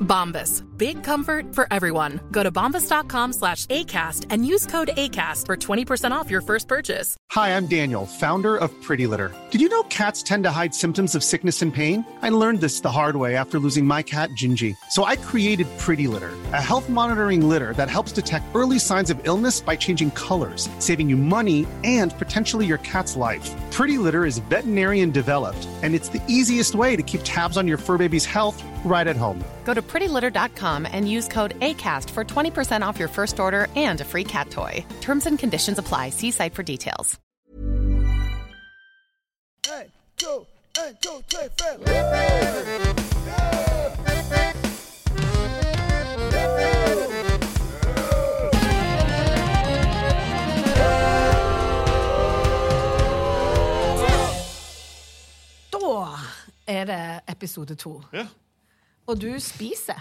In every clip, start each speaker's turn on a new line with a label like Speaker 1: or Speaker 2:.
Speaker 1: Bombas. Big comfort for everyone. Go to bombas.com slash ACAST and use code ACAST for 20% off your first purchase.
Speaker 2: Hi, I'm Daniel, founder of Pretty Litter. Did you know cats tend to hide symptoms of sickness and pain? I learned this the hard way after losing my cat, Gingy. So I created Pretty Litter, a health monitoring litter that helps detect early signs of illness by changing colors, saving you money and potentially your cat's life. Pretty Litter is veterinarian developed, and it's the easiest way to keep tabs on your fur baby's health right at home.
Speaker 3: Go to prettylitter.com and use code ACAST for 20% off your first order and a free cat toy. Terms and conditions apply. See site for details.
Speaker 4: Da er det episode to.
Speaker 5: Ja.
Speaker 4: Og du spiser.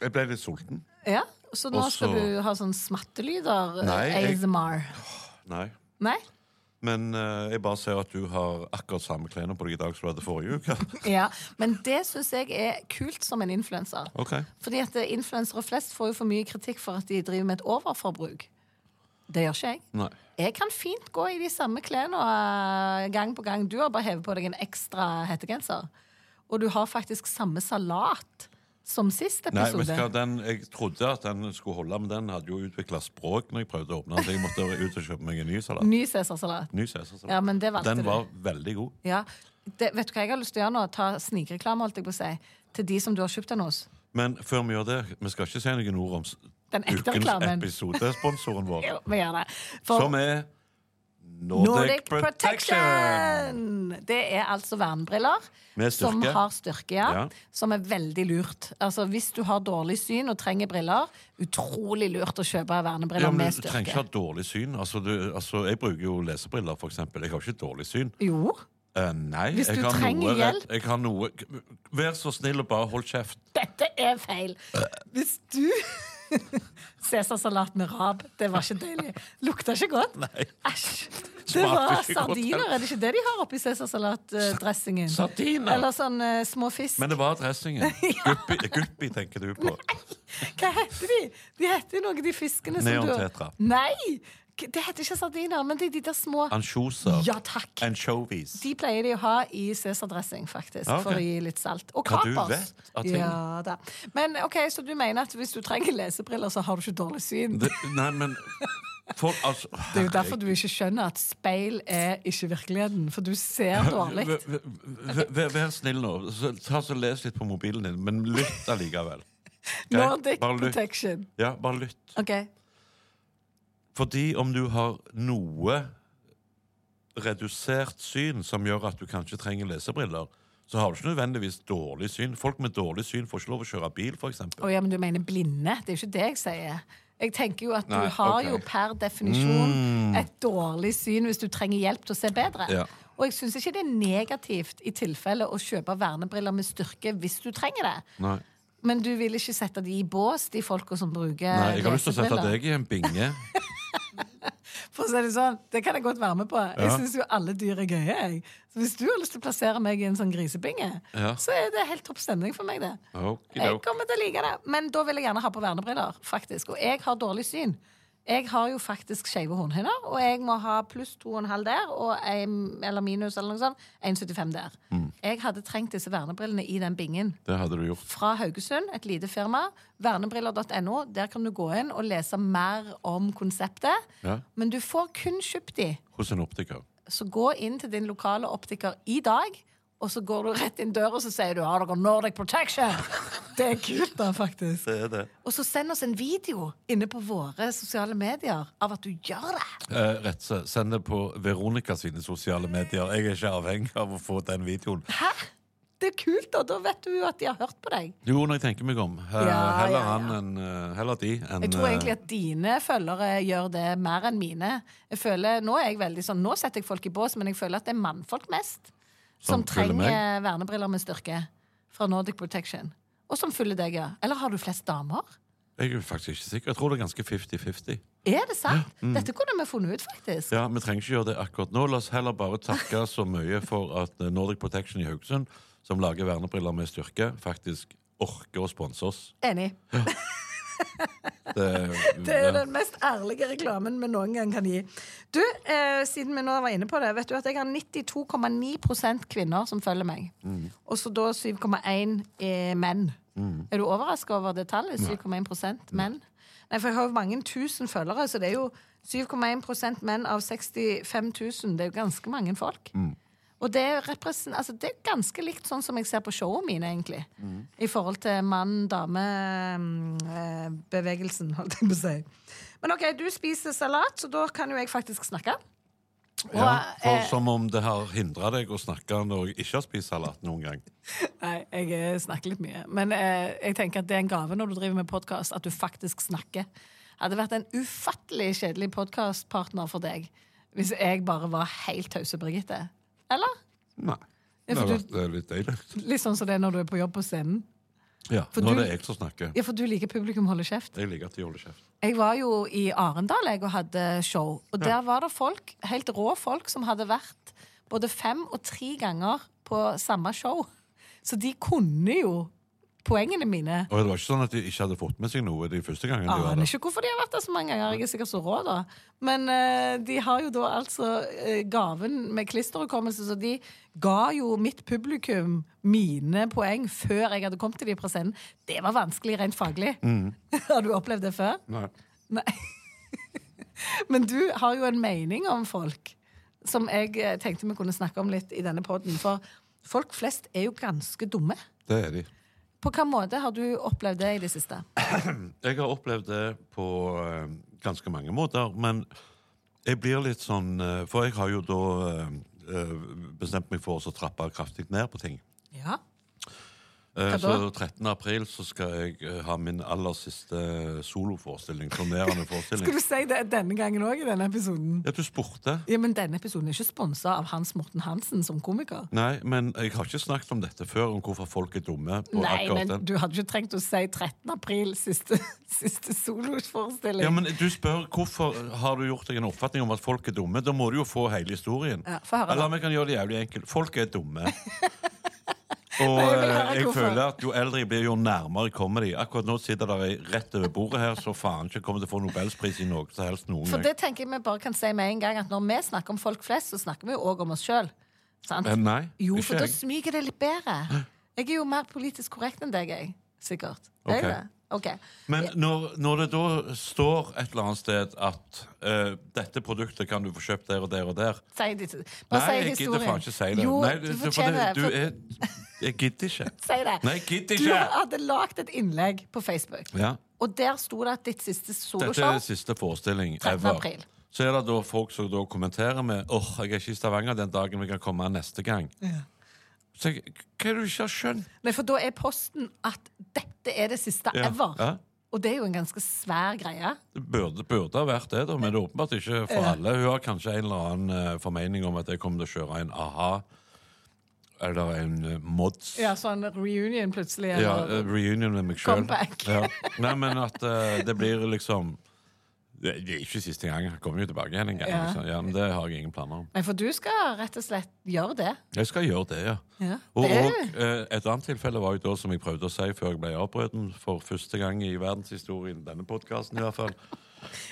Speaker 5: Jeg ble litt sulten.
Speaker 4: Ja, Så nå
Speaker 5: Og
Speaker 4: skal
Speaker 5: så-
Speaker 4: du ha sånn smattelyder? eh,
Speaker 5: Nei, jeg-
Speaker 4: ASMR.
Speaker 5: Nei.
Speaker 4: Nei?
Speaker 5: Men eh, jeg bare ser at du har akkurat samme klærne på deg i dag som du hadde forrige uke.
Speaker 4: Ja. Men det syns jeg er kult som en influenser.
Speaker 5: Ok.
Speaker 4: Fordi at eh, influensere flest får jo for mye kritikk for at de driver med et overforbruk. Det gjør ikke jeg.
Speaker 5: Nei.
Speaker 4: Jeg kan fint gå i de samme klærne eh, gang på gang. Du har bare hevet på deg en ekstra hettegenser. Og du har faktisk samme salat som sist
Speaker 5: Nei, vet
Speaker 4: episode.
Speaker 5: du hva, den, Jeg trodde at den skulle holde, men den hadde jo utvikla språk når jeg prøvde å åpne den, så jeg måtte ut og kjøpe meg en ny salat.
Speaker 4: Ny Cæsarsalat.
Speaker 5: Ny Cæsarsalat.
Speaker 4: Mm. Ja, men det valgte
Speaker 5: den
Speaker 4: du.
Speaker 5: var veldig god.
Speaker 4: Ja. Det, vet du hva jeg har lyst til å gjøre nå? Ta snikreklame, holdt jeg på å si, til de som du har kjøpt den hos.
Speaker 5: Men før vi gjør det, vi skal ikke si noen ord om s-
Speaker 4: Den ekte
Speaker 5: ukens
Speaker 4: reklamen.
Speaker 5: episodesponsoren vår,
Speaker 4: Jo, vi gjør det. For
Speaker 5: som er Nordic,
Speaker 4: Nordic
Speaker 5: Protection.
Speaker 4: Protection! Det er altså vernebriller
Speaker 5: Med
Speaker 4: som
Speaker 5: styrke.
Speaker 4: har styrke, ja,
Speaker 5: Ja.
Speaker 4: Som er veldig lurt. Altså, hvis du har dårlig syn og trenger briller, utrolig lurt å kjøpe vernebriller
Speaker 5: Ja, men
Speaker 4: med
Speaker 5: du trenger ikke
Speaker 4: styrke.
Speaker 5: ha dårlig syn. Altså, du, altså, jeg bruker jo lesebriller, for eksempel. Jeg har ikke dårlig syn.
Speaker 4: Jo.
Speaker 5: Eh, nei.
Speaker 4: Hvis
Speaker 5: jeg
Speaker 4: du
Speaker 5: har
Speaker 4: trenger
Speaker 5: noe,
Speaker 4: hjelp-
Speaker 5: Jeg har noe Vær så snill og bare hold kjeft.
Speaker 4: Dette er feil. Hvis du Cæsarsalat med rab. Det var ikke deilig. Lukta ikke godt. Æsj. Det
Speaker 5: Smakte
Speaker 4: var
Speaker 5: ikke godt
Speaker 4: sardiner.
Speaker 5: heller.
Speaker 4: Er det ikke det de har oppi cæsarsalatdressingen?
Speaker 5: sardiner.
Speaker 4: Eller sånn eh, små fisk.
Speaker 5: Men det var dressingen. Guppi, guppi tenker du på.
Speaker 4: Hva heter de? De heter jo noe, de fiskene
Speaker 5: Neon
Speaker 4: som du
Speaker 5: tetra.
Speaker 4: Nei! Det heter ikke sardiner, men det er de der små
Speaker 5: Ansjoser.
Speaker 4: Ja, takk.
Speaker 5: Anchovies.
Speaker 4: De pleier de å ha i cæsardressing, faktisk.
Speaker 5: Ja, ok.
Speaker 4: For å gi litt salt. Og
Speaker 5: Hva du
Speaker 4: kapers.
Speaker 5: vet av ting.
Speaker 4: Ja da. Men OK, så du mener at hvis du trenger lesebriller, så har du ikke dårlig syn?
Speaker 5: Det, nei, men for, altså,
Speaker 4: Det er jo derfor du ikke skjønner at speil er ikke virkeligheten, for du ser dårlig.
Speaker 5: Vær- vær- vær- Vær snill nå. Så, ta så Les litt på mobilen din, men lytt allikevel. Greit?
Speaker 4: Nordic
Speaker 5: Bare lytt.
Speaker 4: protection.
Speaker 5: Ja, bare lytt.
Speaker 4: OK.
Speaker 5: Fordi om du har noe redusert syn som gjør at du kanskje trenger lesebriller, så har du ikke nødvendigvis dårlig syn. Folk med dårlig syn får ikke lov å kjøre bil, f.eks.
Speaker 4: Å ja, men du mener blinde. Det er jo ikke det jeg sier. Jeg tenker jo at
Speaker 5: Nei,
Speaker 4: du har
Speaker 5: ok. Mm.
Speaker 4: jo per definisjon et dårlig syn hvis du trenger hjelp til å se bedre.
Speaker 5: Ja.
Speaker 4: Og jeg syns ikke det er negativt i tilfelle å kjøpe vernebriller med styrke hvis du trenger det.
Speaker 5: Nei.
Speaker 4: Men du vil ikke sette de i bås, de folka som bruker
Speaker 5: Nei, jeg har lyst til å sette
Speaker 4: Eh, lesebriller.
Speaker 5: deg i en binge.
Speaker 4: For å si det sånn, det kan jeg godt være med på. Jeg
Speaker 5: Ja.
Speaker 4: syns jo alle dyr er gøye. Jeg. Så hvis du har lyst til å plassere meg i en sånn grisebinge,
Speaker 5: Ja.
Speaker 4: så er det helt topp stemning for meg, det. Jeg
Speaker 5: Okidok.
Speaker 4: kommer til å like det. Men da vil jeg gjerne ha på vernebriller, faktisk. Og jeg har dårlig syn. Jeg har jo faktisk skeive hornhinner, og jeg må ha pluss 2,5 der og en, eller minus eller noe sånt. 1,75 der.
Speaker 5: Mm.
Speaker 4: Jeg hadde trengt disse vernebrillene i den bingen
Speaker 5: Det hadde du gjort.
Speaker 4: fra Haugesund, et lite firma. Vernebriller.no. Der kan du gå inn og lese mer om konseptet.
Speaker 5: Ja.
Speaker 4: Men du får kun kjøpt de
Speaker 5: hos en optiker.
Speaker 4: Så gå inn til din lokale optiker i dag, og så går du rett inn døra og så sier du, har dere Nordic Protection? Det er kult da, faktisk.
Speaker 5: Det er det.
Speaker 4: Og så send oss en video inne på våre sosiale medier av at du gjør det.
Speaker 5: Eh, Retse, send det på Veronica sine sosiale medier. Jeg er ikke avhengig av å få den videoen.
Speaker 4: Hæ? Det er kult, da. Da vet du jo at de har hørt på deg.
Speaker 5: Jo, når jeg tenker meg om. eh,
Speaker 4: Ja, ja,
Speaker 5: heller
Speaker 4: ja.
Speaker 5: han enn eh, Heller de enn
Speaker 4: Jeg tror
Speaker 5: eh,
Speaker 4: egentlig at dine følgere gjør det mer enn mine. Jeg føler, Nå er jeg veldig sånn, nå setter jeg folk i bås, men jeg føler at det er mannfolk mest som,
Speaker 5: Som følger
Speaker 4: trenger
Speaker 5: meg?
Speaker 4: vernebriller med styrke fra Nordic Protection. Og som følger deg, ja. Eller har du flest damer?
Speaker 5: Jeg er faktisk ikke sikker. Jeg tror det er ganske 50-50.
Speaker 4: Er det sant? Dette kunne vi funnet ut, faktisk.
Speaker 5: mm. Ja, Vi trenger ikke gjøre det akkurat nå. La oss heller bare takke så mye for at eh, Nordic Protection i Haugesund, som lager vernebriller med styrke, faktisk orker å sponse oss.
Speaker 4: Enig.
Speaker 5: Det, Mm,
Speaker 4: Det er den mest ærlige reklamen vi noen gang kan gi. Du, eh, siden vi nå var inne på det, vet du at jeg har 92,9 kvinner som følger meg. Og så da 7,1 er eh, menn. Er du overraska over det tallet? 7,1 menn? Nei, for jeg har jo mange tusen følgere, så det er jo 7,1 menn av 65 000. Det er jo ganske mange folk. Og det er, represen- altså det er ganske likt sånn som jeg ser på showene mine, egentlig. I forhold til mann-dame-bevegelsen, holdt jeg på å si. Men OK, du spiser salat, så da kan jo jeg faktisk snakke. Og,
Speaker 5: ja, for
Speaker 4: eh,
Speaker 5: som om det har hindra deg å snakke når jeg ikke har spist salat noen gang.
Speaker 4: Nei, jeg eh, snakker litt mye. Men eh, jeg tenker at det er en gave når du driver med podkast, at du faktisk snakker. Hadde vært en ufattelig kjedelig podkastpartner for deg hvis jeg bare var helt tause, Birgitte. Eller?
Speaker 5: Nei.
Speaker 4: Ja,
Speaker 5: Det
Speaker 4: for
Speaker 5: har
Speaker 4: du-
Speaker 5: vært eh, litt deilig.
Speaker 4: Litt sånn som det er når du er på jobb på scenen.
Speaker 5: Ja,
Speaker 4: For
Speaker 5: nå
Speaker 4: du-
Speaker 5: er det jeg som snakker.
Speaker 4: Ja, for du liker publikum holder kjeft.
Speaker 5: Jeg liker at de holder kjeft.
Speaker 4: Jeg var jo i Arendal jeg, og hadde show. Og der var det folk, helt rå folk som hadde vært både fem og tre ganger på samme show. Så de kunne jo poengene mine.
Speaker 5: Og det var ikke sånn at de ikke hadde fått med seg noe de første gangene de var
Speaker 4: Aner
Speaker 5: der.
Speaker 4: Ah, ikke hvorfor de har vært der så mange ganger. Jeg er sikkert så rå, da. Men eh, de har jo da altså eh, gaven med klisterhukommelse, så de ga jo mitt publikum mine poeng før jeg hadde kommet til de i presenten. Det var vanskelig rent faglig. har du opplevd det før?
Speaker 5: Nei.
Speaker 4: Nei. Men du har jo en mening om folk som jeg eh, tenkte vi kunne snakke om litt i denne poden. For folk flest er jo ganske dumme.
Speaker 5: Det er de.
Speaker 4: På hvilken måte har du opplevd det i det siste?
Speaker 5: Jeg har opplevd det på eh, ganske mange måter, men jeg blir litt sånn eh, For jeg har jo da eh, eh, bestemt meg for å så trappe kraftig ned på ting.
Speaker 4: Ja.
Speaker 5: Eh,
Speaker 4: Hva
Speaker 5: Så
Speaker 4: da?
Speaker 5: 13. april så skal jeg eh, ha min aller siste soloforestilling. Turnerende
Speaker 4: Skal
Speaker 5: forestilling.
Speaker 4: du si det denne gangen òg, i denne episoden?
Speaker 5: Ja, du spurte.
Speaker 4: Ja, Men denne episoden er ikke sponsa av Hans Morten Hansen som komiker.
Speaker 5: Nei, men jeg har ikke snakket om dette før, om hvorfor folk er dumme. på
Speaker 4: Nei,
Speaker 5: akkurat
Speaker 4: men
Speaker 5: den.
Speaker 4: du hadde ikke trengt å si 13. april, siste, siste soloforestilling.
Speaker 5: Ja, men du spør hvorfor har du gjort deg en oppfatning om at folk er dumme. Da må du jo få hele historien.
Speaker 4: Ja, få høre da.
Speaker 5: Eller vi kan gjøre det jævlig enkelt. Folk er dumme. Og
Speaker 4: jeg vil
Speaker 5: eh,
Speaker 4: høre
Speaker 5: jeg
Speaker 4: hvorfor.
Speaker 5: føler at jo eldre jeg blir, jo nærmere kommer de. Akkurat nå sitter der ei rett over bordet her, så faen ikke kommer til å få nobelspris i noe som helst noen
Speaker 4: For
Speaker 5: gang.
Speaker 4: det tenker jeg vi bare kan si med en gang, at når vi snakker om folk flest, så snakker vi jo òg om oss sjøl.
Speaker 5: Eh, nei,
Speaker 4: Jo,
Speaker 5: ikke
Speaker 4: for da
Speaker 5: jeg.
Speaker 4: smyger det litt bedre. Jeg er jo mer politisk korrekt enn deg, jeg. Sikkert. Er jeg
Speaker 5: Ok.
Speaker 4: det? Ok.
Speaker 5: Men når, når det da står et eller annet sted at eh, dette produktet kan du få kjøpt der og der og der
Speaker 4: Si ditt. Bare
Speaker 5: Nei,
Speaker 4: si
Speaker 5: jeg
Speaker 4: historien.
Speaker 5: gidder faen ikke si det.
Speaker 4: Jo,
Speaker 5: Nei,
Speaker 4: du
Speaker 5: det- for
Speaker 4: fortjener det.
Speaker 5: det-
Speaker 4: For-
Speaker 5: du er- Jeg gidder ikke.
Speaker 4: Si det.
Speaker 5: Nei, jeg gidder
Speaker 4: Du
Speaker 5: ikke.
Speaker 4: hadde lagd et innlegg på Facebook,
Speaker 5: Ja.
Speaker 4: og der sto det at ditt siste
Speaker 5: Dette er
Speaker 4: soloshow
Speaker 5: siste forestilling
Speaker 4: 13.
Speaker 5: ever.
Speaker 4: april.
Speaker 5: Så er det da folk som da kommenterer med åh, jeg er ikke i Stavanger den dagen vi kan komme neste gang. Så jeg, Hva er det du ikke har skjønt?
Speaker 4: Nei, for da er posten at dette er det siste
Speaker 5: Ja.
Speaker 4: ever.
Speaker 5: Ja.
Speaker 4: Og det er jo en ganske svær greie.
Speaker 5: Det burde, burde ha vært det, da, men det er åpenbart ikke for alle. Hun har kanskje en eller annen eh, formening om at jeg kommer til å kjøre en a-ha eller en eh, mods.
Speaker 4: Ja, sånn reunion plutselig.
Speaker 5: Ja,
Speaker 4: Eller,
Speaker 5: eh, reunion med meg sjøl.
Speaker 4: Comeback.
Speaker 5: Ja. Nei, men at eh, det blir liksom Det det er ikke siste gang. Jeg kommer jo tilbake igjen en gang.
Speaker 4: Ja.
Speaker 5: Liksom. Ja, men det har jeg ingen planer om.
Speaker 4: Nei, for du skal rett og slett gjøre det.
Speaker 5: Jeg skal gjøre det, ja.
Speaker 4: Ja.
Speaker 5: Og,
Speaker 4: Det er
Speaker 5: og eh, et annet tilfelle var jo da som jeg prøvde å si før jeg ble avbrutt, for første gang i verdenshistorien, denne podkasten i hvert fall.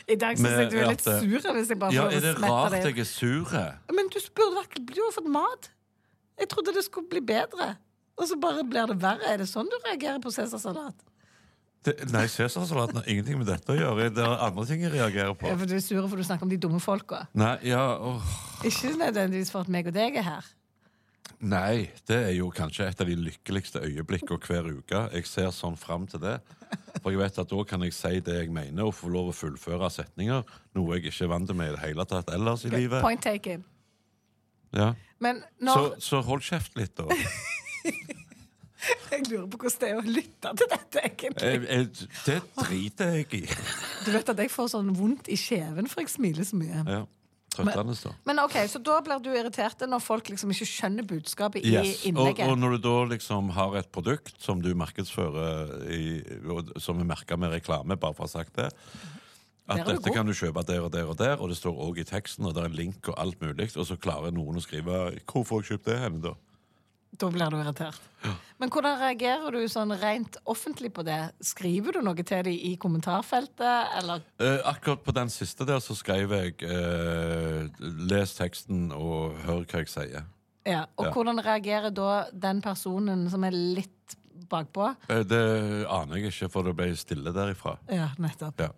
Speaker 4: I dag syns
Speaker 5: Men
Speaker 4: jeg du er litt
Speaker 5: at, eh,
Speaker 4: sur hvis jeg bare får
Speaker 5: Ja, er det
Speaker 4: smette
Speaker 5: rart
Speaker 4: deg.
Speaker 5: jeg er sur?
Speaker 4: Men du burde vært- du har fått mat. Jeg trodde det skulle bli bedre. Og så bare blir det verre. Er det sånn du reagerer på cæsarsalat?
Speaker 5: Det, nei, Cæsarsalat har ingenting med dette å gjøre. Det er andre ting jeg reagerer på.
Speaker 4: Ja, for du er sur for du snakker om de dumme folka.
Speaker 5: Nei, ja, åh,
Speaker 4: Ikke nødvendigvis for at meg og deg er her.
Speaker 5: nei, det er jo kanskje et av de lykkeligste øyeblikkene hver uke. Jeg ser sånn fram til det. For jeg vet at da kan jeg si det jeg mener, og få lov å fullføre setninger. Noe jeg ikke er vant med i det hele tatt ellers i livet.
Speaker 4: Point taken.
Speaker 5: Ja.
Speaker 4: Men
Speaker 5: Så,
Speaker 4: når
Speaker 5: så hold kjeft litt, da.
Speaker 4: Jeg lurer på hvordan det er å lytte til dette, egentlig.
Speaker 5: Jeg, jeg, det driter jeg i.
Speaker 4: Du vet at jeg får sånn vondt i kjeven, for jeg smiler så mye.
Speaker 5: Ja. Trøttende, da.
Speaker 4: Men ok, Så da blir du irritert når folk liksom ikke skjønner budskapet i
Speaker 5: Yes. Og,
Speaker 4: innlegget?
Speaker 5: og når du da liksom har et produkt som du markedsfører i, og Som er merka med reklame, bare for å ha sagt det
Speaker 4: Der er
Speaker 5: At
Speaker 4: du
Speaker 5: dette
Speaker 4: god.
Speaker 5: kan du kjøpe der og der og der, og det står òg i teksten, og det er en link og alt mulig, og så klarer noen å skrive 'Hvorfor har jeg kjøpt det henne, da?'
Speaker 4: Da blir du irritert. Men hvordan reagerer du sånn rent offentlig på det? Skriver du noe til dem i kommentarfeltet, eller
Speaker 5: Eh, akkurat på den siste der så skrev jeg eh, 'Les teksten og hør hva jeg sier'.
Speaker 4: ja. Og
Speaker 5: Ja.
Speaker 4: hvordan reagerer da den personen som er litt bakpå?
Speaker 5: Eh, det aner jeg ikke, for det ble stille derifra.
Speaker 4: Ja, nettopp.
Speaker 5: Ja.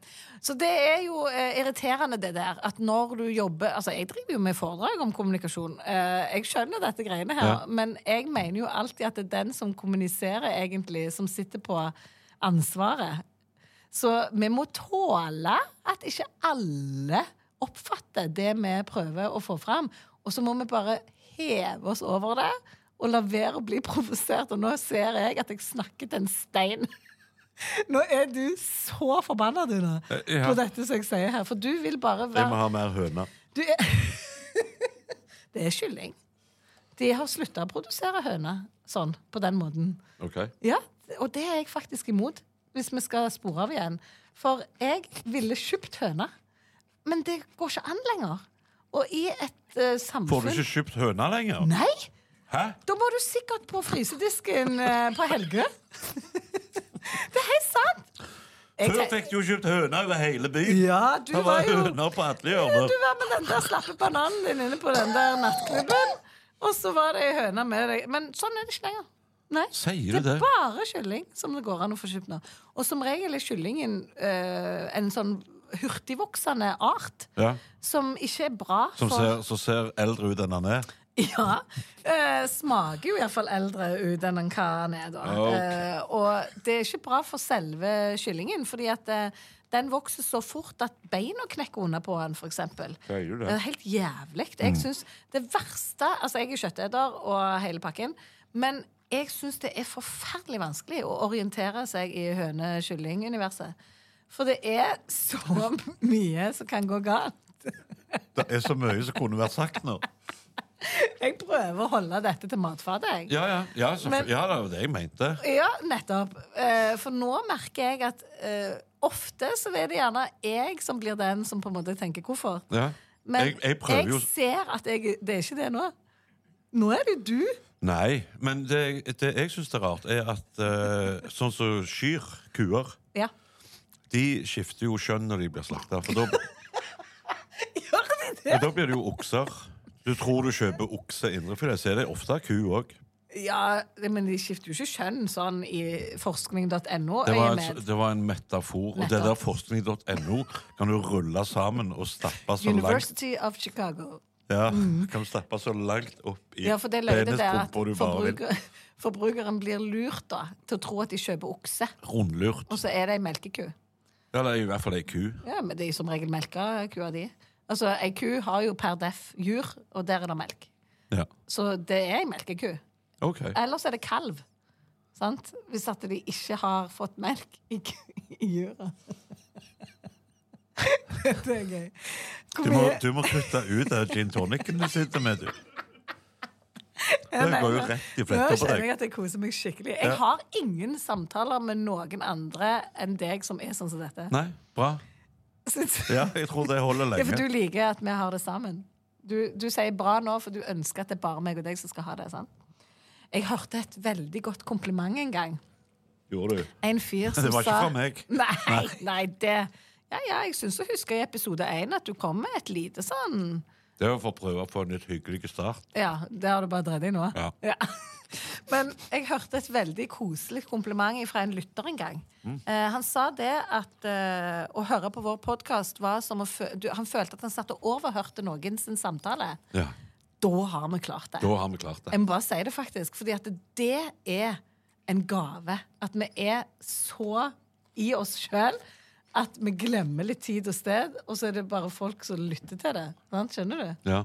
Speaker 4: Så det er jo eh, irriterende, det der. At når du jobber Altså, jeg driver jo med foredrag om kommunikasjon. Eh, jeg skjønner dette greiene her,
Speaker 5: Ja.
Speaker 4: men jeg mener jo alltid at det er den som kommuniserer, egentlig, som sitter på ansvaret. Så vi må tåle at ikke alle oppfatter det vi prøver å få fram. Og så må vi bare heve oss over det og la være å bli provosert. Og nå ser jeg at jeg snakker til en stein. Nå er du så forbanna, du, nå,
Speaker 5: Eh, ja.
Speaker 4: på dette som jeg sier her. For du vil bare
Speaker 5: Jeg
Speaker 4: være
Speaker 5: må ha mer høner.
Speaker 4: du er Det er kylling. De har slutta å produsere høner sånn, på den måten.
Speaker 5: Ok?
Speaker 4: Ja, og det er jeg faktisk imot, hvis vi skal spore av igjen. For jeg ville kjøpt høne, men det går ikke an lenger. Og i et eh,
Speaker 5: Får du
Speaker 4: samfunn
Speaker 5: ikke kjøpt høner lenger?
Speaker 4: Nei!
Speaker 5: Hæ?
Speaker 4: Da må du sikkert på frysedisken eh, på Helgø. det er helt sant! Jeg
Speaker 5: Før
Speaker 4: tenk-
Speaker 5: fikk du jo kjøpt høner over hele byen.
Speaker 4: Ja, du
Speaker 5: Det
Speaker 4: var
Speaker 5: var
Speaker 4: jo
Speaker 5: høner på alle
Speaker 4: Ja, Du
Speaker 5: hjørner.
Speaker 4: var med den der slappe bananen din inne på den der nattklubben. Og så var det ei høne med deg. Men sånn er det ikke lenger. Nei.
Speaker 5: Sier du
Speaker 4: Det
Speaker 5: det?
Speaker 4: er bare kylling som det går an å få kjøpt nå. Og som regel er kyllingen eh, en sånn hurtigvoksende art
Speaker 5: Ja.
Speaker 4: som ikke er bra
Speaker 5: Som
Speaker 4: for
Speaker 5: ser, som ser eldre ut enn han er.
Speaker 4: Ja. Eh, smaker jo iallfall eldre ut enn den hva den er, da.
Speaker 5: Ah, Ok.
Speaker 4: Eh, og det er ikke bra for selve kyllingen, fordi at eh, den vokser så fort at beina knekker under på den, f.eks. Det
Speaker 5: gjør det. Mm.
Speaker 4: er helt jævlig. Jeg synes det verste Altså, jeg er kjøtteter og hele pakken, men jeg syns det er forferdelig vanskelig å orientere seg i høne-kylling-universet. For det er så mye som kan gå galt.
Speaker 5: Det er så mye som kunne vært sagt nå.
Speaker 4: Jeg prøver å holde dette til matfatet, jeg.
Speaker 5: Ja, ja, ja, så,
Speaker 4: Men-
Speaker 5: ja det var det jeg mente.
Speaker 4: Ja, nettopp. Eh, For nå merker jeg at eh, ofte så er det gjerne jeg som blir den som på en måte tenker hvorfor.
Speaker 5: Ja.
Speaker 4: Men
Speaker 5: Jeg- jeg prøver jo-
Speaker 4: ser at jeg, det er ikke det nå. Nå er det du.
Speaker 5: Nei, men det, det jeg syns er rart, er at eh, sånn som kyr, kuer,
Speaker 4: Ja.
Speaker 5: de skifter jo kjønn når de blir slakta. For da,
Speaker 4: Gjør de det?
Speaker 5: ja, da blir det jo okser. Du tror du kjøper okse indrefilet, så er det ofte ku òg.
Speaker 4: Ja, men de skifter jo ikke kjønn sånn i forskning.no.
Speaker 5: Det var,
Speaker 4: øyemed.
Speaker 5: en, det var en metafor. Og det
Speaker 4: Nettopp.
Speaker 5: der forskning.no kan du rulle sammen og stappe så sånn langt
Speaker 4: University of Chicago.
Speaker 5: ja, kan du stappe så langt opp i
Speaker 4: Mm. Ja, for det løgnet der at
Speaker 5: penispumpa du bare vil.
Speaker 4: forbruker, forbrukeren blir lurt da til å tro at de kjøper okse,
Speaker 5: Rundlurt.
Speaker 4: og så er det ei melkeku.
Speaker 5: Ja, Eller i hvert fall ei ku.
Speaker 4: Ja, men det er jo som regel melka kua di. Altså, Ei ku har jo per deff jur, og der er det melk.
Speaker 5: Ja.
Speaker 4: Så det er ei melkeku.
Speaker 5: OK.
Speaker 4: Ellers er det kalv. Sant? Hvis at de ikke har fått melk i, ku- i jura. det er gøy. Hvor
Speaker 5: Du må,
Speaker 4: mye-
Speaker 5: du må kutte ut den gin tonicen du sitter med, du. Det går jo rett i
Speaker 4: Nå
Speaker 5: fletta på
Speaker 4: kjenner
Speaker 5: deg.
Speaker 4: jeg at jeg koser meg skikkelig. Jeg har ingen samtaler med noen andre enn deg som er sånn som dette.
Speaker 5: Nei, bra.
Speaker 4: Syns-
Speaker 5: Ja, jeg tror det holder
Speaker 4: Det er for
Speaker 5: lenge.
Speaker 4: du liker at vi har det sammen. Du, du sier bra nå, for du ønsker at det er bare meg og deg som skal ha det. sant? Jeg hørte et veldig godt kompliment en gang.
Speaker 5: Gjorde du?
Speaker 4: En fyr som sa
Speaker 5: Det var ikke fra meg.
Speaker 4: Nei, nei det Ja, ja, jeg syns jeg husker i episode én at du kom med et lite sånn
Speaker 5: Det var for å prøve å få en litt hyggelig start.
Speaker 4: Ja, det har du bare dreid deg nå.
Speaker 5: Ja.
Speaker 4: Men jeg hørte et veldig koselig kompliment fra en lytter en gang.
Speaker 5: Mm.
Speaker 4: Eh, han sa det at eh, å høre på vår podkast var som å fø du, Han følte at han satt og overhørte noen sin samtale.
Speaker 5: Ja,
Speaker 4: Da har vi klart det.
Speaker 5: Da har vi klart det.
Speaker 4: Jeg må bare si det, faktisk. Fordi at det er en gave. At vi er så i oss sjøl at vi glemmer litt tid og sted, og så er det bare folk som lytter til det. Sant? Skjønner du?
Speaker 5: Ja.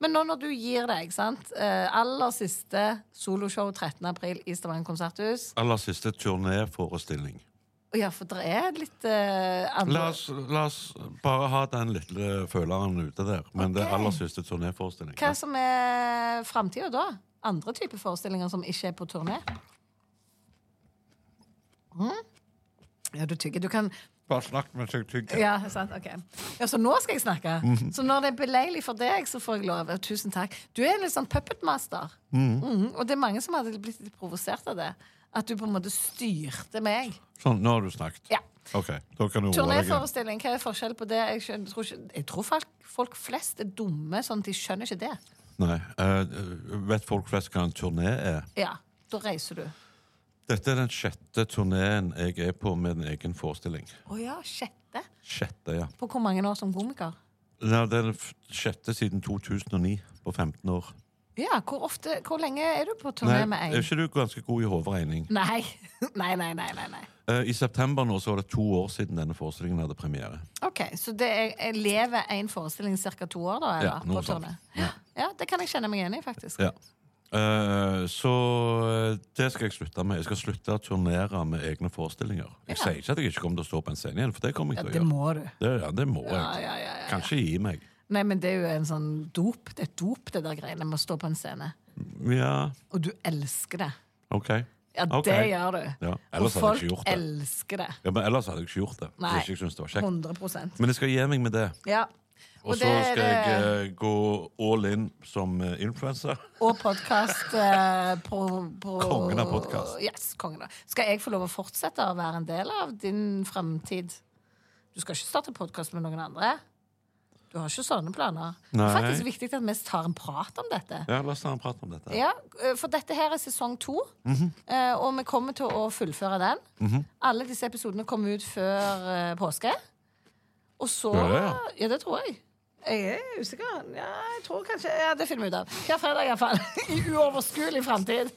Speaker 4: Men nå når du gir deg, sant? Eh, aller siste soloshow 13. april i Stavanger konserthus.
Speaker 5: Aller siste turnéforestilling.
Speaker 4: Og ja, for det er litt eh, andre
Speaker 5: La oss, la oss bare ha den lille føleren ute der. Men det er aller siste turnéforestilling.
Speaker 4: Hva som er framtida da? Andre typer forestillinger som ikke er på turné? Mm? Ja, du tygger. Du kan
Speaker 5: Bare snakk med seg tygg.
Speaker 4: Ja, sant, ok Ja, Så nå skal jeg snakke? Så når det er beleilig for deg, så får jeg lov. Tusen takk. Du er en litt sånn puppetmaster. Mhm. Og det er mange som hadde blitt litt provosert av det. At du på en måte styrte meg.
Speaker 5: Sånn, nå har du snakket.
Speaker 4: Ja.
Speaker 5: Ok, da kan du roe deg.
Speaker 4: Turnéforestilling, hva er forskjellen på det? Jeg, skjønner, jeg tror, ikke, jeg tror folk, folk flest er dumme, sånn at de skjønner ikke det.
Speaker 5: Nei, eh, vet folk flest hva en turné er?
Speaker 4: Ja, Da reiser du. Å
Speaker 5: Dette er den sjette turnéen jeg er på med en egen forestilling.
Speaker 4: ja, sjette?
Speaker 5: Sjette, ja.
Speaker 4: På hvor mange år som komiker?
Speaker 5: ja det er den f- sjette siden 2009, på 15 år.
Speaker 4: Ja, Hvor ofte, hvor lenge er du på turné
Speaker 5: Nei,
Speaker 4: med én?
Speaker 5: er ikke du ganske god i hoderegning?
Speaker 4: Nei. nei, nei, nei, nei, nei.
Speaker 5: Eh, I september nå så var det to år siden denne forestillingen hadde premiere.
Speaker 4: Ok, Så det er, jeg lever én forestilling ca. to år, da? Eller,
Speaker 5: Ja,
Speaker 4: på
Speaker 5: noe sånt.
Speaker 4: turné? Ja. det kan jeg kjenne meg igjen i, faktisk.
Speaker 5: Ja. Eh, så eh, det skal jeg slutte med. Jeg skal slutte å turnere med egne forestillinger. Jeg sier ikke at jeg ikke kommer til å stå på en scene igjen, for det kommer jeg til å
Speaker 4: Det
Speaker 5: gjøre.
Speaker 4: må du.
Speaker 5: Det, ja, det må jeg. Kanskje gi meg.
Speaker 4: Nei, men det er jo en sånn dop, det er et dop, det der greiene med å stå på en scene.
Speaker 5: Ja,
Speaker 4: Og du elsker det.
Speaker 5: OK.
Speaker 4: Ja,
Speaker 5: Ok.
Speaker 4: det gjør du.
Speaker 5: Ja,
Speaker 4: Og
Speaker 5: ellers hadde
Speaker 4: folk
Speaker 5: jeg ikke gjort det.
Speaker 4: elsker det.
Speaker 5: Ja, men ellers hadde jeg ikke gjort det.
Speaker 4: Nei.
Speaker 5: Hvis jeg ikke syntes det var kjekt.
Speaker 4: 100
Speaker 5: Men jeg skal gi meg med det.
Speaker 4: Ja.
Speaker 5: Og så
Speaker 4: det er
Speaker 5: skal jeg
Speaker 4: det-
Speaker 5: eh, gå all in som uh, influenser.
Speaker 4: Og podkast eh, på, på
Speaker 5: Kongen av podcast.
Speaker 4: Yes, kongen av. Skal jeg få lov å fortsette å være en del av din fremtid? Du skal ikke starte podkast med noen andre? Du har ikke sånne planer? Det er
Speaker 5: Nei.
Speaker 4: faktisk viktig at vi tar en prat om dette.
Speaker 5: Ja, la oss ta en prat om dette.
Speaker 4: Ja, eh, for dette her er sesong to, eh, og vi kommer til å fullføre den. Alle disse episodene kommer ut før eh, påske. Og så
Speaker 5: Gjør det,
Speaker 4: ja.
Speaker 5: ja?
Speaker 4: det tror jeg. Jeg er usikker. Ja, jeg tror kanskje ja, Det finner vi ut av. Hver fredag, iallfall. I uoverskuelig framtid.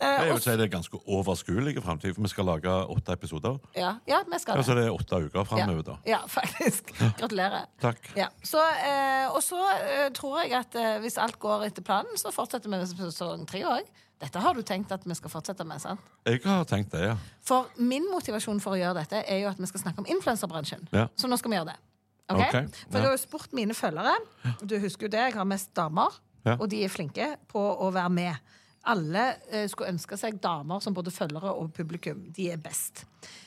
Speaker 4: Eh,
Speaker 5: Jeg
Speaker 4: og-
Speaker 5: vil si det er ganske overskuelig i fremtiden, for vi skal lage åtte episoder.
Speaker 4: ja, ja, vi skal det.
Speaker 5: Altså det er åtte uker fremover,
Speaker 4: ja.
Speaker 5: da.
Speaker 4: ja, faktisk. Gratulerer.
Speaker 5: Takk.
Speaker 4: Ja. Så, eh, og så eh, tror jeg at eh, hvis alt går etter planen, så fortsetter vi med sesong tre òg. Dette har du tenkt at vi skal fortsette med, sant?
Speaker 5: Jeg har tenkt det, ja.
Speaker 4: For min motivasjon for å gjøre dette er jo at vi skal snakke om influenserbransjen.
Speaker 5: Ja.
Speaker 4: Så nå skal vi gjøre det. Ok?
Speaker 5: Ok,
Speaker 4: For
Speaker 5: ja.
Speaker 4: jeg har jo spurt mine følgere. Du husker jo det, jeg har mest damer,
Speaker 5: Ja.
Speaker 4: og de er flinke på å være med. Alle eh, skulle ønske seg damer som både følgere og publikum. De er best.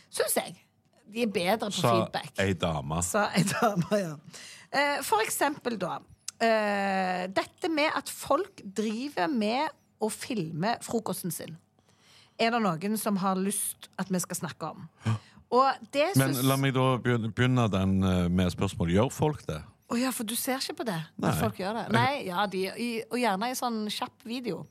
Speaker 4: Syns jeg. De er bedre på
Speaker 5: Sa
Speaker 4: feedback.
Speaker 5: ei dame.
Speaker 4: Sa ei dame, ja. Eh, For eksempel, da. eh, Dette med at folk driver med å filme frokosten sin. Er det noen som har lyst at vi skal snakke om? Og det
Speaker 5: Men
Speaker 4: syns
Speaker 5: la meg da begynne begynne den eh, med spørsmålet Gjør folk det.
Speaker 4: Å ja, for du ser ikke på det?
Speaker 5: Nei.
Speaker 4: At folk gjør det? Nei, ja, de, i, Og gjerne i sånn kjapp video.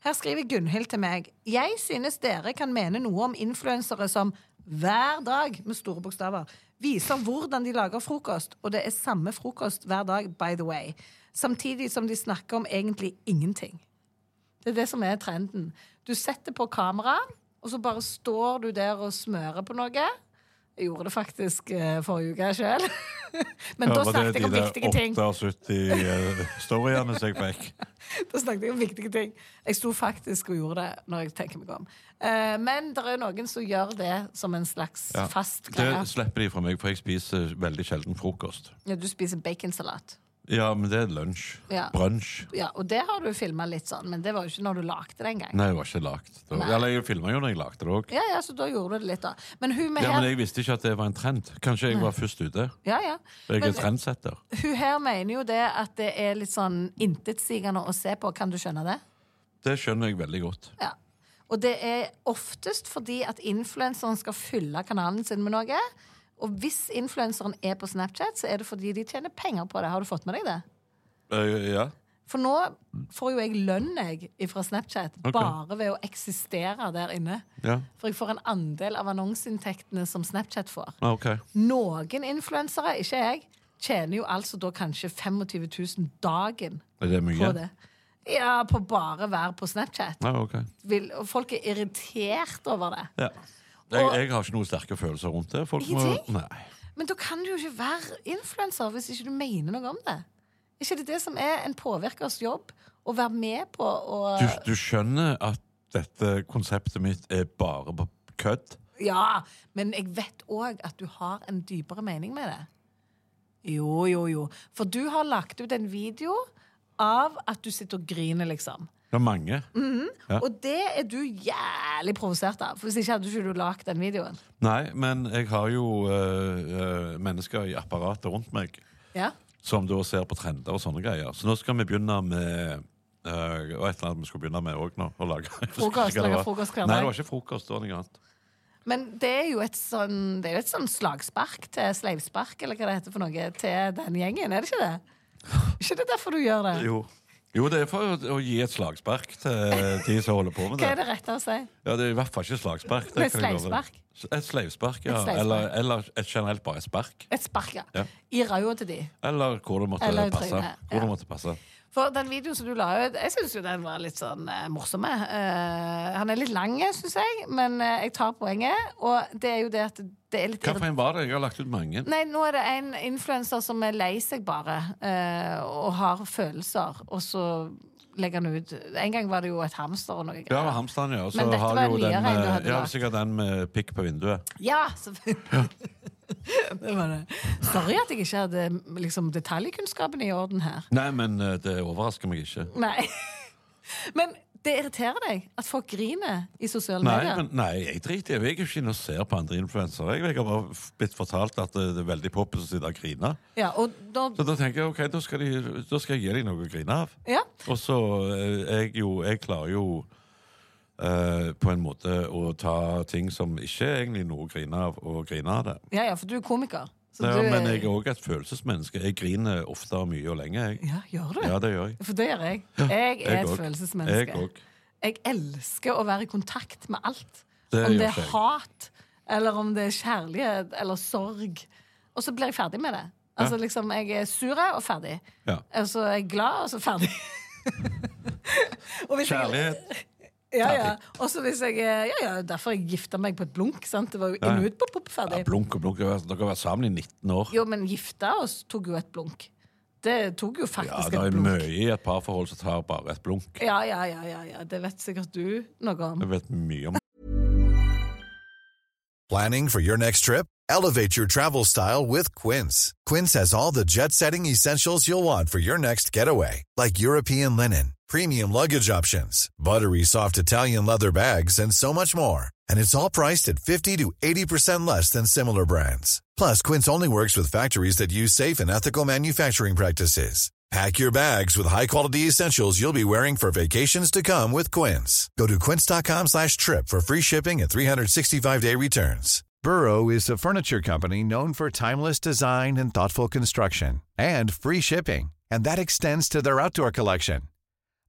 Speaker 4: Her skriver Gunhild til meg Jeg synes dere kan mene noe om influensere som hver dag, med store bokstaver, viser hvordan de lager frokost, og det er samme frokost hver dag, by the way. Samtidig som de snakker om egentlig ingenting. Det er det som er trenden. Du setter på kamera, og så bare står du der og smører på noe. Jeg gjorde det faktisk eh, forrige uke sjøl. Men da
Speaker 5: var det
Speaker 4: snakket jeg om viktige ting.
Speaker 5: De der 78-storyene som jeg fikk.
Speaker 4: Da snakket jeg om viktige ting. Jeg sto faktisk og gjorde det når jeg tenker meg om. Eh, Men det er noen som gjør det som en slags
Speaker 5: Ja.
Speaker 4: fast
Speaker 5: Det
Speaker 4: greie.
Speaker 5: slipper de fra meg, for jeg spiser veldig sjelden frokost.
Speaker 4: Ja, du spiser baconsalat.
Speaker 5: Ja, men det er lunsj.
Speaker 4: Ja.
Speaker 5: Brunsj.
Speaker 4: Ja, og det har du filma litt sånn, men det var jo ikke når du lagde det engang.
Speaker 5: Nei, det var ikke lagt. Da- Eller jeg filma jo når jeg lagde det òg.
Speaker 4: Ja, ja, så da gjorde du det litt, da. Men hun med
Speaker 5: Ja, men
Speaker 4: her
Speaker 5: jeg visste ikke at det var en trend. Kanskje jeg var først ute.
Speaker 4: ja, ja.
Speaker 5: Jeg
Speaker 4: Men-
Speaker 5: er trendsetter.
Speaker 4: Hun her mener jo det at det er litt sånn intetsigende å se på. Kan du skjønne det?
Speaker 5: Det skjønner jeg veldig godt.
Speaker 4: Ja. Og det er oftest fordi at influenseren skal fylle kanalen sin med noe. Og hvis influenseren er på Snapchat, så er det fordi de tjener penger på det. Har du fått med deg det?
Speaker 5: Eh, ja.
Speaker 4: For nå får jo jeg lønn jeg fra Snapchat bare ved å eksistere der inne.
Speaker 5: Ja.
Speaker 4: For jeg får en andel av annonseinntektene som Snapchat får.
Speaker 5: Ah, ok.
Speaker 4: Noen influensere, ikke jeg, tjener jo altså da kanskje 25 000 dagen
Speaker 5: Er det
Speaker 4: på
Speaker 5: mye?
Speaker 4: det. Ja, på bare å være på Snapchat.
Speaker 5: Ah, ok.
Speaker 4: Vil, og folk er irritert over det.
Speaker 5: Ja. Jeg, jeg har ikke noen sterke følelser rundt det. Folk må,
Speaker 4: Ingenting?
Speaker 5: nei.
Speaker 4: Men da kan du jo ikke være influenser hvis ikke du mener noe om det. Er ikke det det som er en påvirkers jobb? Å være med på å
Speaker 5: Du, du skjønner at dette konseptet mitt er bare på kødd?
Speaker 4: Ja, men jeg vet òg at du har en dypere mening med det. Jo, jo, jo. For du har lagt ut en video av at du sitter og griner, liksom.
Speaker 5: Det er mange.
Speaker 4: Mm.
Speaker 5: Ja.
Speaker 4: Og det er du jævlig provosert av. For Hvis ikke hadde du ikke lagd den videoen.
Speaker 5: Nei, men jeg har jo eh, eh, mennesker i apparatet rundt meg
Speaker 4: Ja.
Speaker 5: som da ser på trender og sånne greier. Så nå skal vi begynne med eh, og et eller annet vi skulle begynne med òg nå. Å lage.
Speaker 4: Frokost, lage frokost hver dag.
Speaker 5: Nei, det var ikke frokost. Det var noe annet.
Speaker 4: Men det er jo et sånn, det er jo et sånn slagspark til sleivspark, eller hva det heter for noe, til den gjengen, er det ikke det? Ikke det derfor du gjør det?
Speaker 5: Jo. jo, det er for å, å gi et slagspark til de som holder på med
Speaker 4: Hva er
Speaker 5: det.
Speaker 4: det rette å si?
Speaker 5: Ja, det er i hvert fall ikke slagspark.
Speaker 4: Men
Speaker 5: det kan jeg love deg. Et sleivspark, ja.
Speaker 4: Et sleivspark.
Speaker 5: Eller, eller et generelt bare spark.
Speaker 4: Et spark, ja.
Speaker 5: Ja.
Speaker 4: I ræva til de.
Speaker 5: Eller hvor det måtte
Speaker 4: Eller i
Speaker 5: passe.
Speaker 4: trynet,
Speaker 5: Hvor
Speaker 4: ja.
Speaker 5: det måtte passe.
Speaker 4: For den videoen som du la ut, jeg syns jo den var litt sånn eh, morsom. jeg. Eh, han er litt lang, syns jeg, men eh, jeg tar poenget. Og det er jo det at det er litt
Speaker 5: Hva for en var det? Jeg har lagt ut mange.
Speaker 4: Nei, nå er det en influenser som er lei seg bare, eh, og har følelser, og så legger han ut En gang var det jo et hamster og noe
Speaker 5: Ja,
Speaker 4: greier.
Speaker 5: Hamstern, ja. Og så
Speaker 4: Men dette var
Speaker 5: har
Speaker 4: en
Speaker 5: jo den,
Speaker 4: nyere enn du hadde
Speaker 5: eh, ja,
Speaker 4: lagt.
Speaker 5: sikkert den med pikk på vinduet.
Speaker 4: Ja, selvfølgelig. det var det. Sorry at jeg ikke hadde liksom, detaljkunnskapen i orden her.
Speaker 5: Nei, men eh, det overrasker meg ikke.
Speaker 4: Nei. Men det irriterer deg at folk griner i sosiale
Speaker 5: Nei,
Speaker 4: medier.
Speaker 5: men, nei jeg driter i det. Jeg er jo ikke inne og ser på andre influensere. Jeg, jeg har bare f- blitt fortalt at eh, det det er veldig poppis å sitte og grine.
Speaker 4: Ja, og da,
Speaker 5: Så da tenker jeg ok, da skal, de, da skal jeg gi dem noe å grine av.
Speaker 4: ja.
Speaker 5: Og så eh, jeg jo Jeg klarer jo eh, på en måte å ta ting som ikke er egentlig noe å grine av, og grine av det.
Speaker 4: ja, ja, for du er komiker. Så
Speaker 5: Ja,
Speaker 4: du er-
Speaker 5: men jeg er òg et følelsesmenneske. Jeg griner ofte og mye og lenge. Jeg.
Speaker 4: Ja, gjør du?
Speaker 5: Ja, det gjør jeg.
Speaker 4: For det gjør jeg. Jeg er
Speaker 5: jeg
Speaker 4: et
Speaker 5: også. Jeg
Speaker 4: følelsesmenneske.
Speaker 5: også.
Speaker 4: Jeg elsker å være i kontakt med alt.
Speaker 5: Det
Speaker 4: om
Speaker 5: gjør
Speaker 4: det er
Speaker 5: ikke jeg.
Speaker 4: hat, eller om det er kjærlighet, eller sorg. Og så blir jeg ferdig med det. Altså liksom, Jeg er sur og ferdig. Og så
Speaker 5: Ja.
Speaker 4: er Altså, jeg glad, og så ferdig. Og hvis jeg-
Speaker 5: Kjærlighet.
Speaker 4: Ja, ja. Og så hvis jeg Ja, ja, derfor jeg gifta meg på et blunk. sant? Det var jo
Speaker 5: ja.
Speaker 4: inn og ut på pop
Speaker 5: Ja,
Speaker 4: ferdig.
Speaker 5: blunk og blunk. Dere har- dere har vært sammen i 19 år.
Speaker 4: Jo, men gifta oss tok jo et blunk. Det tok jo
Speaker 5: Ja,
Speaker 4: faktisk
Speaker 5: det
Speaker 4: et
Speaker 5: er
Speaker 4: blunk.
Speaker 5: mye i et parforhold som tar bare et blunk.
Speaker 4: Ja, ja, ja, ja, ja. Det vet sikkert du noe om.
Speaker 5: Jeg vet mye om
Speaker 6: Planning for your next trip? Elevate your travel style with Quince. Quince has all the jet setting essentials you'll want for your next getaway, like European linen, premium luggage options, buttery soft Italian leather bags, and so much more. And it's all priced at 50 to 80% less than similar brands. Plus, Quince only works with factories that use safe and ethical manufacturing practices. Pack your bags with high-quality essentials you'll be wearing for vacations to come with Quince. Go to quince.com slash trip for free shipping and 365-day returns.
Speaker 7: Burrow is a furniture company known for timeless design and thoughtful construction
Speaker 6: and free shipping, and that extends to their outdoor collection.